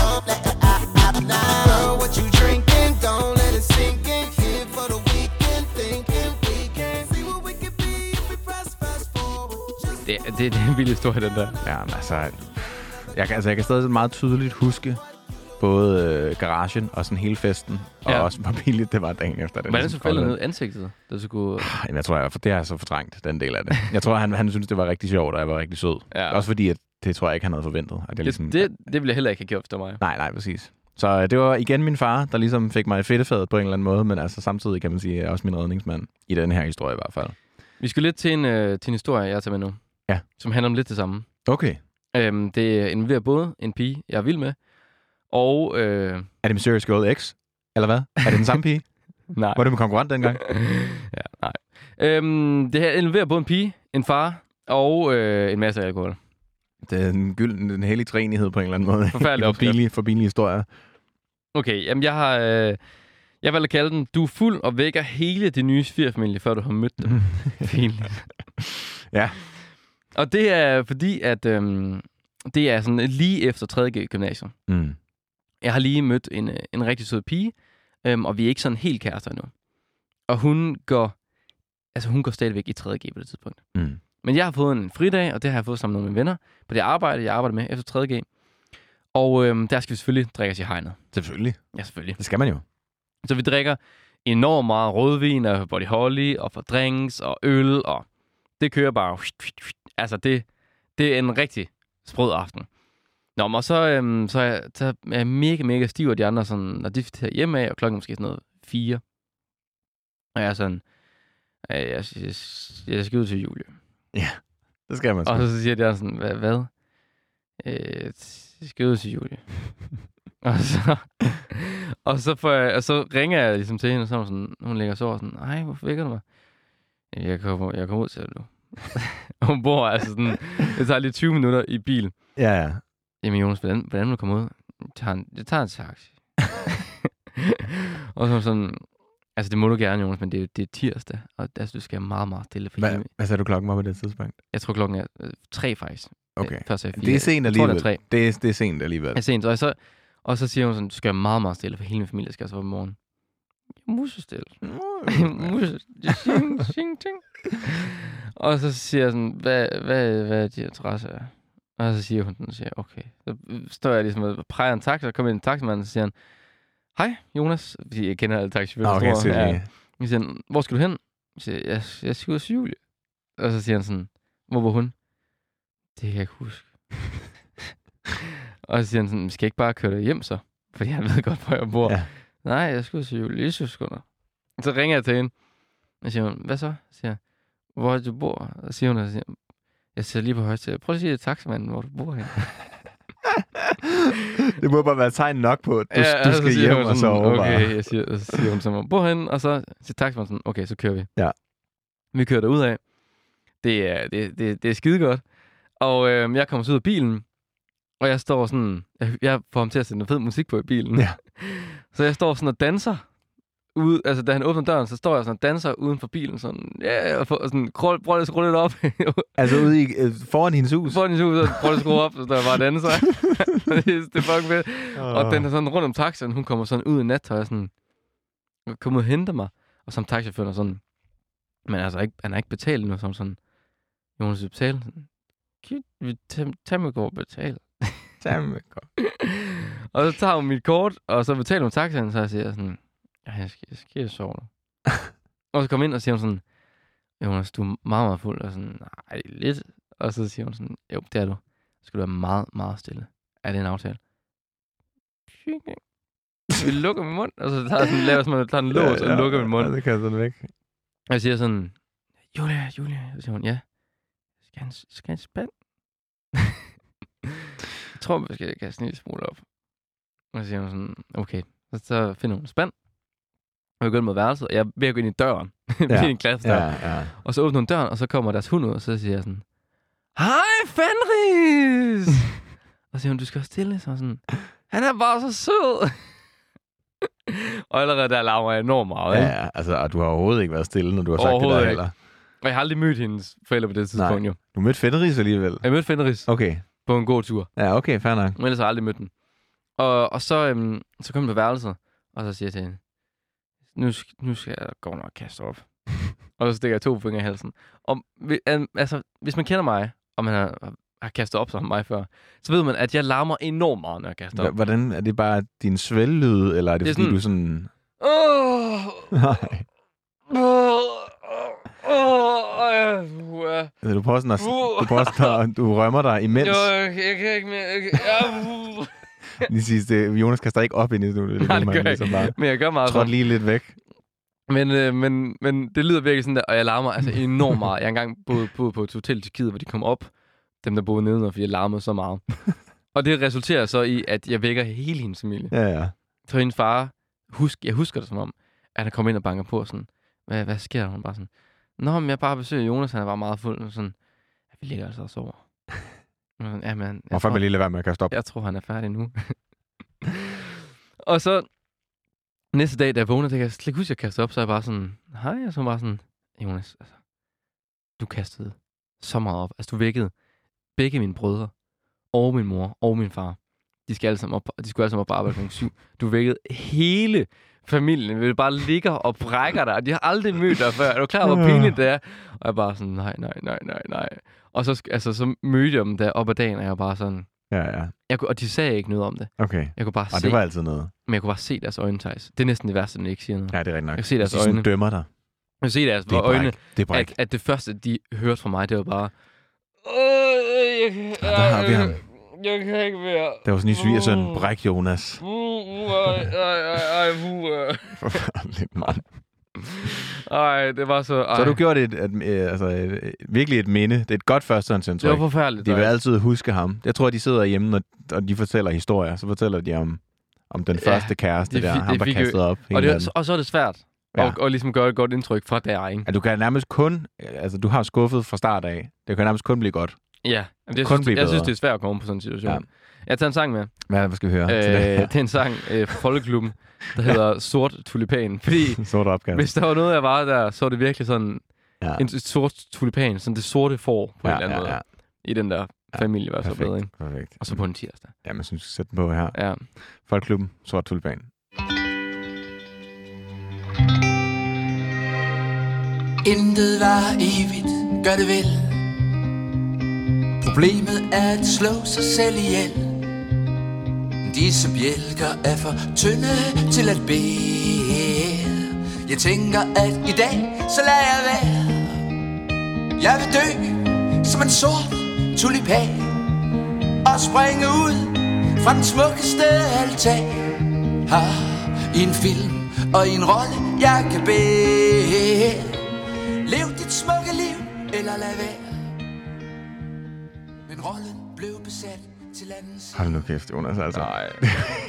F: Don't let it out now. Girl, what you drinking? Don't let it sink in. Here for the weekend, thinking we can see what we can be if we press fast forward. Just
B: Det, det, det er en vild historie, den der.
A: Ja, men altså, jeg, kan- altså, jeg kan stadig sådan meget tydeligt huske både øh, garagen og sådan hele festen, og
B: Ja.
A: ja. også hvor pinligt det var dagen efter. Det
B: Hvordan så
A: ligesom
B: faldet
A: koldt.
B: ned i ansigtet, da du skulle...
A: Jamen, jeg tror, jeg, for det har jeg så fortrængt, den del af det. Jeg tror, han, han synes, det var rigtig sjovt, og jeg var rigtig sød.
B: Ja.
A: Også fordi, at det tror jeg ikke, han havde forventet. At jeg
B: Det,
A: ligesom,
B: det, det ville jeg heller ikke have gjort efter mig.
A: Nej, nej, præcis. Så øh, det var igen min far, der ligesom fik mig i fedtefadet på en eller anden måde, men altså samtidig kan man sige, er også min redningsmand i den her historie i hvert fald.
B: Vi skal lidt til en, øh, til en historie, jeg tager med nu.
A: Ja.
B: Som handler om lidt det samme.
A: Okay.
B: Øhm, det involverer både en pige, jeg er vild med, og... Øh,
A: Er det Mysterious Girl X? Eller hvad? Er det den samme
B: (laughs)
A: pige?
B: nej.
A: Var du min konkurrent dengang?
B: ja, nej. Øhm, det her involverer både en pige, en far og øh, en masse alkohol.
A: Det er en gylden, en hellig træenighed på en eller anden måde. (laughs)
B: Forfærdelig
A: for
B: opskrift.
A: billig, for billig historie.
B: Okay, jamen jeg har... Øh, jeg valgte at kalde den, du er fuld og vækker hele din nye svigerfamilie, før du har mødt dem. Fint.
A: Ja.
B: Og det er fordi, at øhm, det er sådan lige efter 3.G gymnasium.
A: Mm.
B: Jeg har lige mødt en, øh, en rigtig sød pige, øhm, og vi er ikke sådan helt kærester nu. Og hun går, altså hun går stadigvæk i 3.G på det tidspunkt.
A: Mm.
B: Men jeg har fået en fridag, og det har jeg fået sammen med nogle af mine venner på det arbejde, jeg arbejder med efter 3.G. Og øhm, der skal vi selvfølgelig drikke os i hegnet.
A: Selvfølgelig.
B: Ja, selvfølgelig.
A: Det skal man jo.
B: Så vi drikker enormt meget rødvin og Body Holly og for drinks og øl, og det kører bare. Altså, det, det er en rigtig sprød aften. Nå, men og så, øhm, så, er jeg, så er jeg mega, mega stiv, og de andre sådan, når de tager hjem af, og klokken er måske sådan noget fire. Og jeg er sådan, øh, jeg, jeg, jeg skal ud til Julie.
A: Det skal man.
B: Og så siger de også sådan, hvad? hvad? Øh, jeg skal ud til Julie. og, så, og, så får jeg, og så ringer jeg ligesom til hende, og så er hun, sådan, hun ligger og sover sådan, nej, hvorfor vækker du mig? "Jamen, Jeg kommer, jeg kommer ud til dig nu. (laughs) hun bor altså sådan, det tager lige 20 minutter i bil.
A: Ja, ja.
B: Jamen Jonas, hvordan, hvordan vil du komme ud? Jeg tager en, jeg tager en taxi. (laughs) og så er hun sådan, altså det må du gerne, Jonas, men det, er- det er tirsdag, og altså, du skal meget, meget stille. For
A: Hvad, hvad sagde du klokken var på det tidspunkt?
B: jeg tror klokken er øh, tre faktisk.
A: Okay.
B: Øh, Først er
A: Det er sent
B: Jeg tror,
A: alligevel.
B: det er tre. Altså-
A: Det er, det er sent alligevel.
B: Det er sent. Og så, og så siger hun sådan, du skal være meget, meget stille, for hele min familie skal altså være på morgen. Musestille. (laughs) Muse- Ting, ting, ting. Og så siger jeg sådan, hvad, hvad, hvad er din adresse er? Og så siger hun sådan, siger, jeg, okay. Så står jeg ligesom og præger en taxa, og kommer ind en taxamand, og så siger han, hej Jonas, fordi jeg kender alle
A: Nå,
B: taxichauffører.
A: okay,
B: tror jeg.
A: selvfølgelig.
B: Ja. Jeg siger, han, hvor skal du hen? Jeg siger, jeg, jeg skal ud til Julie. Og så siger han sådan, hvor var hun? Det kan jeg ikke huske. og så siger han sådan, skal jeg ikke bare køre dig hjem så? Fordi han (laughs) ved godt, hvor jeg bor.
A: Ja.
B: Nej, jeg skal ud til Julie. Jeg synes sgu da. Så ringer jeg til hende. Og siger hun, hvad så? Jeg siger, jeg, hvor er det, du bor? Og siger hun, og siger, jeg sidder lige på højt Prøv at sige til taxamanden, hvor du bor hen.
A: Det må bare være tegn nok på, at du, ja, du
B: så
A: skal
B: altså, siger
A: hjem
B: hun
A: og
B: sådan,
A: sove okay.
B: Okay,
A: bare.
B: jeg siger, så siger hun sådan, hvor hen? Og så siger taxaen sådan, okay, så kører vi.
A: Ja.
B: Vi kører derud af. Det er, det, det, det er skide godt. Og øhm, jeg kommer så ud af bilen, og jeg står sådan, jeg, jeg får ham til at sætte noget fed musik på i bilen.
A: Ja.
B: (laughs) Så jeg står sådan og danser. Ude, altså, da han åbner døren, så står jeg sådan og danser uden for bilen, sådan, ja, yeah, og får sådan, krøl, prøv lige at skrue lidt op. (laughs)
A: Altså ude i, øh, foran hendes hus.
B: Prøv lige at prøv lige at skrue op, så står jeg bare og danser. (laughs) det er fucking fedt. Og den er sådan rundt om taxaen, hun kommer sådan ud i nattøj og sådan, kom ud og hente mig. Og som taxaføren er sådan, men altså ikke, han har ikke betalt nu, som sådan, Jonas vil betale. Sådan, "Kan vi tage- tage mig går og betale.
A: Jamen,
B: Og så tager hun mit kort, og så betaler hun taxaen, så jeg siger sådan, "Ej, jeg skal, jeg skal sove
A: (laughs)
B: nu. og så kommer ind og siger hun sådan, Jonas, du er meget, meget fuld, og sådan, nej, lidt. Og så siger hun sådan, jo, det er du. Så skal du være meget, meget stille. Er det en aftale? Vi lukker min mund, og så tager jeg sådan, laver jeg sådan, noget, tager en lås og lukker min mund.
A: Ja, det kan sådan væk.
B: Og jeg siger sådan, Julia, Julia. Så siger hun, ja. Skal han, skal han spand? (laughs) jeg tror, vi skal kaste en lille smule op. Og så siger hun sådan, okay. Så, så finder hun en spand. Og jeg går ind mod værelset, og jeg er ved at gå ind i døren. (laughs) ja. en klasse
A: Ja,
B: ja.
A: ja.
B: Og så åbner hun døren, og så kommer deres hund ud, og så siger jeg sådan, Hej, (laughs) Fenris! og så siger hun, du skal også stille, så er jeg sådan, han er bare så sød! (laughs) og allerede der larmer jeg enormt meget. ikke?
A: ja, ja. Altså, og du har overhovedet ikke været stille, når du har sagt det
B: Overhovedet
A: der
B: ikke.
A: heller.
B: Og jeg har aldrig mødt hendes forældre på det tidspunkt,
A: Nej.
B: jo.
A: Du mødte Fenris alligevel.
B: Jeg mødte Fenris
A: Okay.
B: på en god tur,
A: Ja, okay, fair nok.
B: men ellers har jeg aldrig mødt den. Og, og så, øhm, så kom jeg på værelset, og så siger jeg til hende, nu, sk- nu skal jeg godt nok kaste op. og så stikker jeg to fingre i halsen. Og, vi- øhm, altså, hvis man kender mig, og man har, har kastet op som mig før, så ved man, at jeg larmer enormt meget, når jeg kaster op.
A: H- Hvordan, er det bare din svællyde, eller er det,
B: Det
A: det
B: er
A: fordi,
B: sådan-
A: du sådan... (laughs)
B: Åh,
A: Nej.
B: åh, åh, åh, ja, uha.
A: Altså, du prøver sådan at,
B: Uh.
A: du, prøver sådan at, du rømmer dig imens.
B: Jo, jeg, jeg kan ikke mere. Jeg kan, ja, uh.
A: Lige sidst, øh, Jonas kaster ikke op ind i nu. Det,
B: (laughs) Nej,
A: man
B: det gør jeg
A: ligesom
B: ikke.
A: bare
B: Men jeg gør meget
A: trådt lige lidt væk.
B: Men, øh, men, men det lyder virkelig sådan der, og jeg larmer altså enormt meget. Jeg har engang boet, boet på et hotel i Tyrkiet, hvor de kom op, dem der boede nedenunder, fordi jeg larmede
A: (laughs)
B: så meget. og det resulterer så i, at jeg vækker hele hendes familie.
A: Ja, ja.
B: Så hendes far, husk, jeg husker det som om, at han kom ind og banker på sådan, hvad, hvad sker der? Hun bare sådan, Nå, men jeg bare besøger Jonas, han er bare meget fuld. Og sådan, ja, vi ligger altså
A: (laughs)
B: og sover. Og sådan, ja, men,
A: Hvorfor vil jeg lige lade være med at kaste op?
B: jeg tror, han er færdig nu. (laughs) og så næste dag, da jeg vågner, det kan jeg slet ikke huske, jeg kastede op, så er jeg bare sådan, hej, og så er jeg bare sådan, Jonas, altså, du kastede så meget op. Altså, du vækkede begge mine brødre, og min mor, og min far. De, skal alle sammen op, de skulle alle sammen op på arbejde kl. 7. Du vækkede hele familien, vil bare ligger og brækker dig, og de har aldrig mødt dig før. Er du klar, over, hvor pinligt det er? Og jeg er bare sådan, nej, nej, nej, nej, nej. Og så, sk- altså, så mødte jeg dem der op ad dagen, og jeg var bare sådan,
A: Ja, ja.
B: Jeg kunne, og de sagde ikke noget om det.
A: Okay.
B: Jeg kunne bare
A: Og
B: se,
A: det var altid noget.
B: men jeg kunne bare se deres øjne, Thijs. Det er næsten det værste, når de ikke siger noget.
A: Ja, det er rigtigt nok.
B: Jeg kan se deres
A: Hvis de sådan
B: øjne.
A: dømmer dig.
B: Jeg kunne se deres
A: Det er
B: øjne,
A: bræk. Det er bræk.
B: at, at det første, de hørte fra mig, det var bare... Øh, jeg, kan-
A: Ja, der har vi ham.
B: Øh. Jeg kan ikke mere.
A: Det var sådan i svigersøn. Bræk, Jonas. (laughs)
B: Uh, uh, ej, ej, ej, ej, uh, øh.
A: Lidt mand.
B: Ej, det var så... Ej.
A: Så har du gjort et, et, et, altså, et, et, virkelig et minde. Det er et godt førstehåndsindtryk.
B: det var forfærdeligt.
A: De vil
B: Thijs.
A: altid huske ham. Jeg tror, de sidder hjemme, og, og de fortæller historier. Så fortæller de om, om den
B: Ja,
A: første kæreste
B: det
A: der,
B: fik-
A: ham
B: det
A: der
B: fik jo-
A: kastede op.
B: og,
A: hende
B: det,
A: anden.
B: var- og så er det svært ja.
A: Ja.
B: at, at ligesom gøre et godt indtryk fra der, ikke?
A: Ja, du kan nærmest kun, altså du har jo skuffet fra start af. Det kan nærmest kun blive godt.
B: Ja, Jamen, det,
A: Kun
B: jeg, synes,
A: blive
B: jeg synes,
A: bedre.
B: det er svært at komme på sådan en situation. Ja.
A: Ja.
B: Jeg tager en sang med.
A: Hvad, hvad skal vi høre?
B: (laughs) Øh,
A: til det (laughs) her?
B: det er en sang øh, fra Folkeklubben, der hedder Sort Tulipan. Fordi
A: Sort opgave.
B: hvis der var noget, jeg var der, så var det virkelig sådan
A: Ja.
B: en sort tulipan, sådan det sorte får på ja, en eller anden ja, måde. Ja. I den der familie, i hvert fald. bedre,
A: Perfekt,
B: ikke?
A: perfekt.
B: Og så på en tirsdag.
A: Ja, man synes, vi skal sætte den på her.
B: Ja.
A: Folkklubben, Sort Tulipan.
E: Intet var evigt, gør det vel Problemet er at slå sig selv ihjel Disse bjælker er for tynde til at bære Jeg tænker at i dag, så lader jeg være Jeg vil dø som en sort tulipan Og springe ud fra den smukkeste altan Har i en film og i en rolle, jeg kan bære Lev dit smukke liv, eller lad være. Men rollen blev besat til andens
A: Hold nu kæft, Jonas, altså.
B: Nej.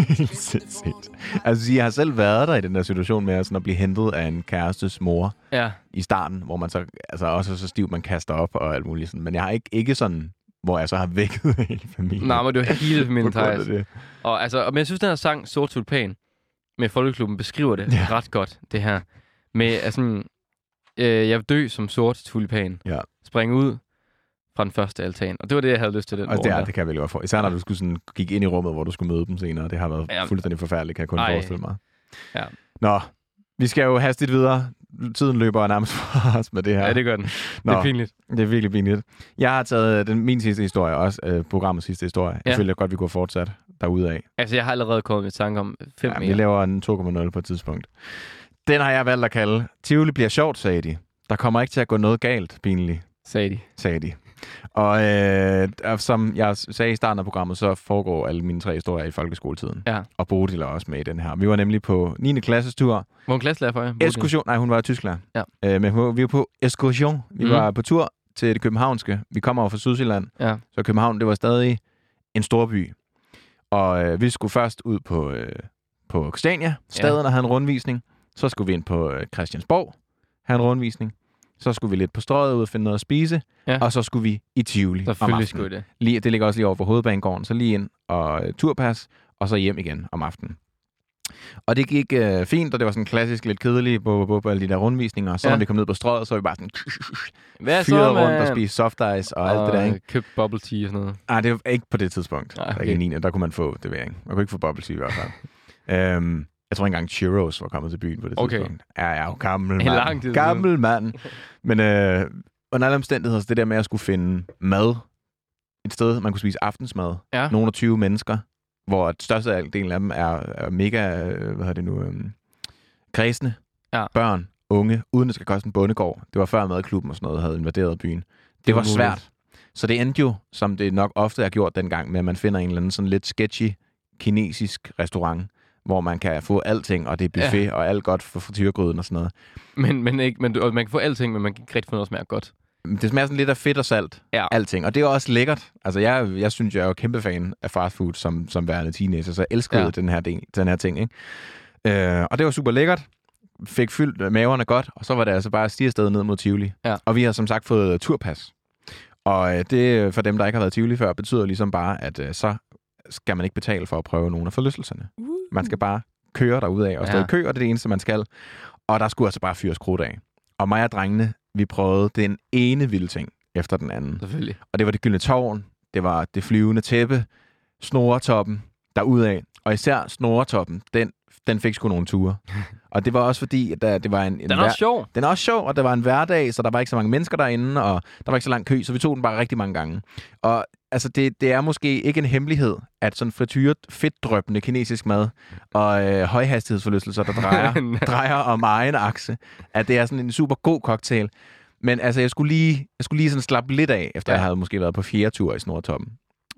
A: Helt (laughs) sindssygt. altså, jeg har selv været der i den der situation med sådan at blive hentet af en kærestes mor
B: Ja.
A: i starten, hvor man så altså, også er så stiv, man kaster op og alt muligt sådan. Men jeg har ikke, ikke sådan, hvor jeg så har vækket (laughs) hele familien.
B: Nej, men det
A: (laughs)
B: var hele
A: På
B: min
A: grund af
B: Thijs.
A: det.
B: Og, altså, og- men jeg synes, den her sang, Sort Tulipan, med Folkeklubben, beskriver det ja.
A: Ja.
B: ret godt, det her. Med at sådan, øh, jeg vil dø som sort tulipan.
A: Ja.
B: Springe ud fra den første altan. Og det var det, jeg havde lyst til den
A: Og det,
B: morgen
A: er,
B: der.
A: det kan jeg vel godt for. Især når du skulle sådan, gik ind i rummet, hvor du skulle møde dem senere. Det har været
B: Ja.
A: ja. fuldstændig forfærdeligt, kan jeg kun
B: Ej.
A: Ej. forestille mig.
B: Ja.
A: Nå, vi skal jo hastigt videre. Tiden løber nærmest (laughs) fra os med det her.
B: Ja, det gør den.
A: Nå,
B: Det er pinligt.
A: det er virkelig pinligt. Jeg har taget øh, den, min sidste historie også, øh, programmets sidste historie.
B: Ja.
A: Jeg føler godt, vi kunne fortsætte derudad.
B: Altså, jeg har allerede kommet med tanke om fem ja,
A: Ja, vi
B: mere.
A: laver en 2,0 på et tidspunkt. Den har jeg valgt at kalde Tivoli bliver sjovt, sagde de. Der kommer ikke til at gå noget galt, pinligt.
B: sagde de.
A: sagde de. Og, øh, og som jeg sagde i starten af programmet, så foregår alle mine tre historier i folkeskoletiden.
B: Ja.
A: Og Bodil er også med i den her. Vi var nemlig på 9. klasses tur.
B: Hvor en klasselærer for jer? Bodil?
A: Eskursion, nej, hun var tysklærer.
B: Ja.
A: Øh, men hun var- vi var på eskursion. Vi
B: Mhm.
A: var på tur til det københavnske. Vi kommer over fra Sydsjælland.
B: Ja.
A: Så København, det var stadig en stor by. Og øh, vi skulle først ud på, øh, på Christiania, staden, og have en rundvisning. Så skulle vi ind på øh, Christiansborg, have en rundvisning. Så skulle vi lidt på strøget ud og finde noget at spise.
B: Ja.
A: Og så skulle vi i Tivoli om
B: Selvfølgelig
A: aftenen.
B: skulle I det.
A: Lige, det ligger også lige over for hovedbanegården, så lige ind og øh, turpas, og så hjem igen om aftenen. Og det gik øh, fint, og det var sådan klassisk lidt kedeligt på, på, på alle de der rundvisninger. Og så
B: Ja.
A: når vi kom ned på strøget, så var vi bare sådan
B: Hvad så,
A: fyret rundt og
B: mand?
A: spiste soft ice og, og alt det der, ikke?
B: købt bubble tea og sådan noget.
A: Nej, Ah, det var ikke på det tidspunkt.
B: Ah,
A: Ah, okay.
B: okay.
A: Ikke i 9. Der kunne man få det ved jeg ikke. Man kunne ikke få bubble tea i
B: (laughs)
A: hvert fald. øhm, jeg tror ikke engang Churros var kommet til byen på det
B: Okay.
A: tidspunkt. Ja, ja, jo, gammel
B: (laughs)
A: mand.
B: lang tid siden.
A: gammel mand. Men øh, under alle omstændigheder, så det der med at skulle finde mad, et sted, man kunne spise aftensmad,
B: Ja.
A: nogle af 20 mennesker, hvor at størstedelen af dem er, er mega, øh, hvad hedder det nu, øh, kredsende,
B: Ja.
A: børn, unge, uden at det skal koste en bondegård. Det var før madklubben og sådan noget havde invaderet byen. Det, det var
B: umuligt.
A: svært. Så det endte jo, som det nok ofte er gjort dengang, med at man finder en eller anden sådan lidt sketchy kinesisk restaurant, hvor man kan få alting, og det er buffet, ja. og alt godt for frityrgryden og sådan noget.
B: Men, men, ikke, men du, og man kan få alting, men man kan ikke rigtig få noget, der smager godt.
A: Men Det smager sådan lidt af fedt og salt,
B: Ja.
A: alting. Og det er også lækkert. Altså, jeg, jeg synes, jeg er jo kæmpe fan af fast food som, som værende teenager, så jeg elskede
B: Ja.
A: ja. den, her del, den her ting, ikke? Øh, og det var super lækkert. Fik fyldt maverne godt, og så var det altså bare at stige afsted ned mod Tivoli.
B: Ja.
A: Og vi har som sagt fået turpas. Og øh, det, øh, for dem, der ikke har været i Tivoli før, betyder ligesom bare, at øh, så skal man ikke betale for at prøve nogen af forlystelserne. Man skal bare køre derudad og stå
B: Ja.
A: i kø, og det er det eneste, man skal. Og der skulle altså bare fyres krudt af. Og mig og drengene, vi prøvede den ene vilde ting efter den anden.
B: Selvfølgelig.
A: Og det var det gyldne tårn, det var det flyvende tæppe, snoretoppen derudaf. Og især snoretoppen, den, den fik sgu nogle
B: (laughs)
A: ture. Og det var også fordi, at der, det var en... en
B: Den er også sjov.
A: den er også sjov, og der var en hverdag, så der var ikke så mange mennesker derinde, og der var ikke så lang kø, så vi tog den bare rigtig mange gange. Og altså det, det er måske ikke en hemmelighed, at sådan frityret, fedtdrøbende kinesisk mad og øh, højhastighedsforlystelser, der drejer, drejer om egen akse, at det er sådan en super god cocktail. Men altså, jeg skulle lige, jeg skulle lige sådan slappe lidt af, efter
B: Ja.
A: ja. jeg havde måske været på fjerde tur i Snortoppen.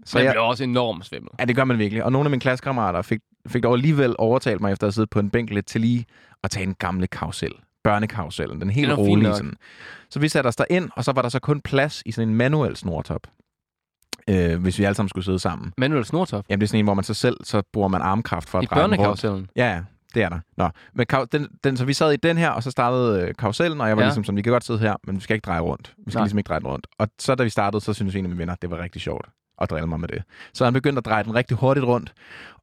A: Så
B: Man
A: jeg,
B: bliver også enormt svimmel.
A: Ja, det gør man virkelig. Og nogle af mine klassekammerater fik, fik dog alligevel overtalt mig, efter at have siddet på en bænk lidt til lige, at tage en gamle karusel. Børnekarusellen, den helt
B: Den er fin
A: rolige.
B: nok.
A: Sådan. Så vi satte os derind, og så var der så kun plads i sådan en manuel snortop, øh, hvis vi alle sammen skulle sidde sammen.
B: Manuel Snortop.
A: Jamen, det er sådan en, hvor man så selv, så bruger man armkraft for at
B: I
A: dreje den rundt.
B: børnekarusellen.
A: Ja, ja, det er der. Nå, men kau- den, den, så vi sad i den her, og så startede øh, karusellen, og jeg var
B: Ja.
A: ja. ligesom sådan, vi kan godt sidde her, men vi skal ikke dreje rundt. Vi skal
B: Nej.
A: Nej. ligesom ikke dreje den rundt. Og så da vi startede, så synes en af mine venner, det var rigtig sjovt at drille mig med det. Så han begyndte at dreje den rigtig hurtigt rundt,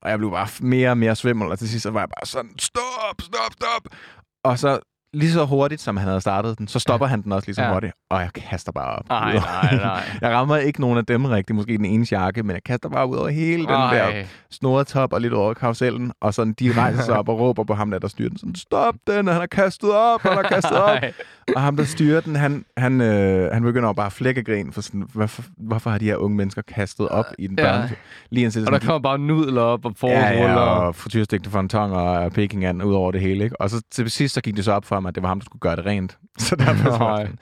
A: og jeg blev bare f- mere og mere svimmel, og til sidst så var jeg bare sådan, stop, stop, stop. Og så lige så hurtigt, som han havde startet den, så stopper han den også lige så
B: Ja.
A: hurtigt, og jeg kaster bare op.
B: Nej,
A: Ud over-
B: nej, nej.
A: (laughs) jeg rammer ikke nogen af dem rigtigt, måske den ene jakke, men jeg kaster bare ud over hele den der
B: Ej.
A: snoretop og lidt over karusellen, og sådan, de rejser sig op og råber på ham, der, der styrer den. Sådan, stop den, han har kastet op, han har kastet op.
B: Ej.
A: og ham, der styrer den, han, han, øh, han begynder jo bare at flække grin, for sådan, hvorfor, hvorfor har de her unge mennesker kastet op i den
B: Ja.
A: børne? Lige indtil
B: Og der kommer bare nudler op og
A: Ja, ja,
B: forruller.
A: og frityrstegte fontong og pekingand ud over det hele. Ikke? Og så til sidst så gik det så op for mig, at det var ham, der skulle gøre det rent. (laughs) Så derfor så var
B: Nej.
A: jeg sådan-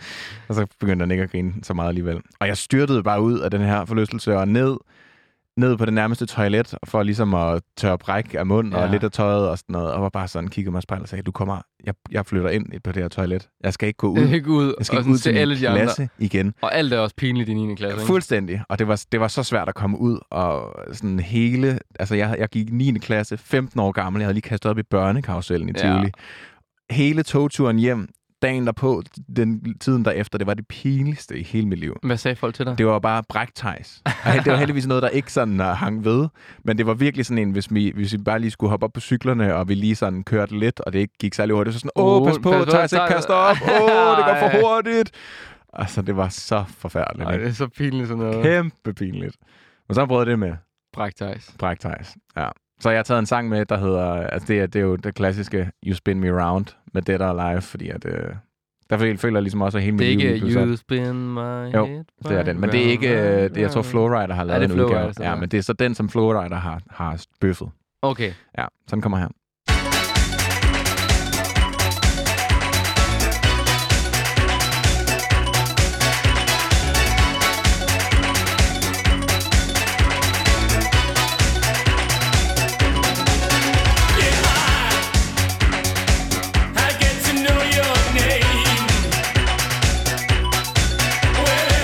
A: Og så begyndte han ikke at grine så meget alligevel. Og jeg styrtede bare ud af den her forlystelse og ned, ned på det nærmeste toilet for ligesom at tørre bræk af mund ja.
B: Ja.
A: og lidt af tøjet og sådan noget. Og var bare sådan, kiggede mig i spejlet og sagde, du kommer, jeg, jeg flytter ind på det her toilet. Jeg skal ikke gå
B: (laughs)
A: ud.
B: Det gik ud,
A: Jeg skal
B: og
A: ikke
B: sådan
A: ud til
B: til alle
A: min
B: de andre.
A: klasse igen.
B: Og alt er også pinligt i 9. klasse, ikke?
A: Fuldstændig. Og det var, det var så svært at komme ud og sådan hele... Altså, jeg, jeg gik 9. klasse, 15 år gammel. Jeg havde lige kastet op i børnekarusellen i
B: Ja.
A: Tivoli. Hele togturen hjem, dagen derpå, den tiden derefter, det var det pinligste i hele mit liv.
B: Hvad sagde folk til dig?
A: Det var bare bræktejs. Og det var heldigvis noget, der ikke sådan uh, hang ved. Men det var virkelig sådan en, hvis vi, hvis vi bare lige skulle hoppe op på cyklerne, og vi lige sådan kørte lidt, og det ikke gik særlig hurtigt. Så sådan, åh,
B: Uh,
A: oh, pas på,
B: pas på,
A: Thijs ikke
B: Thijs."
A: kaster op. Åh, oh, det går
B: Ej.
A: for hurtigt. Altså, det var så forfærdeligt.
B: Ej,
A: ikke?
B: det er så pinligt sådan noget.
A: Kæmpe pinligt. Men så har jeg prøvet det med
B: Bræktejs.
A: Bræk Theis. Ja. Så jeg har taget en sang med, der hedder... Altså, det er, det er jo det klassiske You Spin Me Round med Dead or Alive, fordi at... Øh, der føler jeg ligesom også, at hele mit
B: Det er
A: liv
B: ikke øh,
A: lige pludselig er-
B: You Spin My
A: Jo,
B: Head
A: det er den. Men det er ikke... Øh, det, jeg tror, Flowrider har lavet
B: det er
A: en udgave.
B: Flowrider, så
A: Ja,
B: ja.
A: men det er så den, som Flowrider har, har bøffet.
B: Okay.
A: Ja, sådan kommer her.
G: I get to know your name. Well, I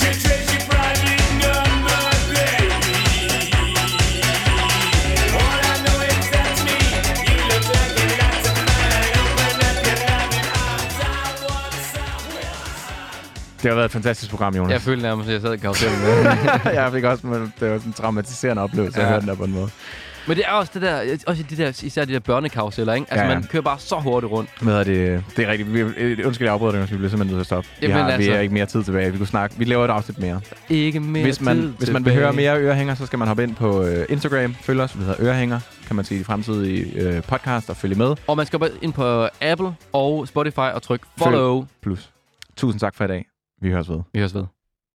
G: can trace your private number, baby. All I know is that's me. You look like a lot of mine. Open up your loving arms. I want some.
A: Det har været et fantastisk program, Jonas.
B: Jeg følte nærmest, at jeg sad i karusellen
A: (laughs)
B: med.
A: jeg fik også... Det var sådan en traumatiserende oplevelse, ja.
B: Ja.
A: jeg hørte den der på en måde.
B: Men det er også det der, også de der, især de der børnekaruseller, ikke? Altså,
A: Ja,
B: ja,
A: ja.
B: ja. man kører bare så hurtigt rundt.
A: Hvad er det? Det er rigtigt. Vi, øh, undskyld, jeg afbryder dig, vi bliver simpelthen nødt til at stoppe. Vi,
B: Jamen
A: har, vi
B: altså.
A: har ikke mere tid tilbage. Vi kunne snakke. Vi laver et afsnit mere.
B: Ikke mere
A: Hvis man,
B: tid
A: hvis man vil
B: tilbage.
A: høre mere Ørehænger, så skal man hoppe ind på øh, Instagram. Følg os, vi hedder Ørehænger. Kan man se de fremtidige øh, podcast og følge med.
B: Og man skal bare ind på Apple og Spotify og trykke follow.
A: Plus. Tusind tak for i dag. Vi høres ved.
B: Vi høres ved.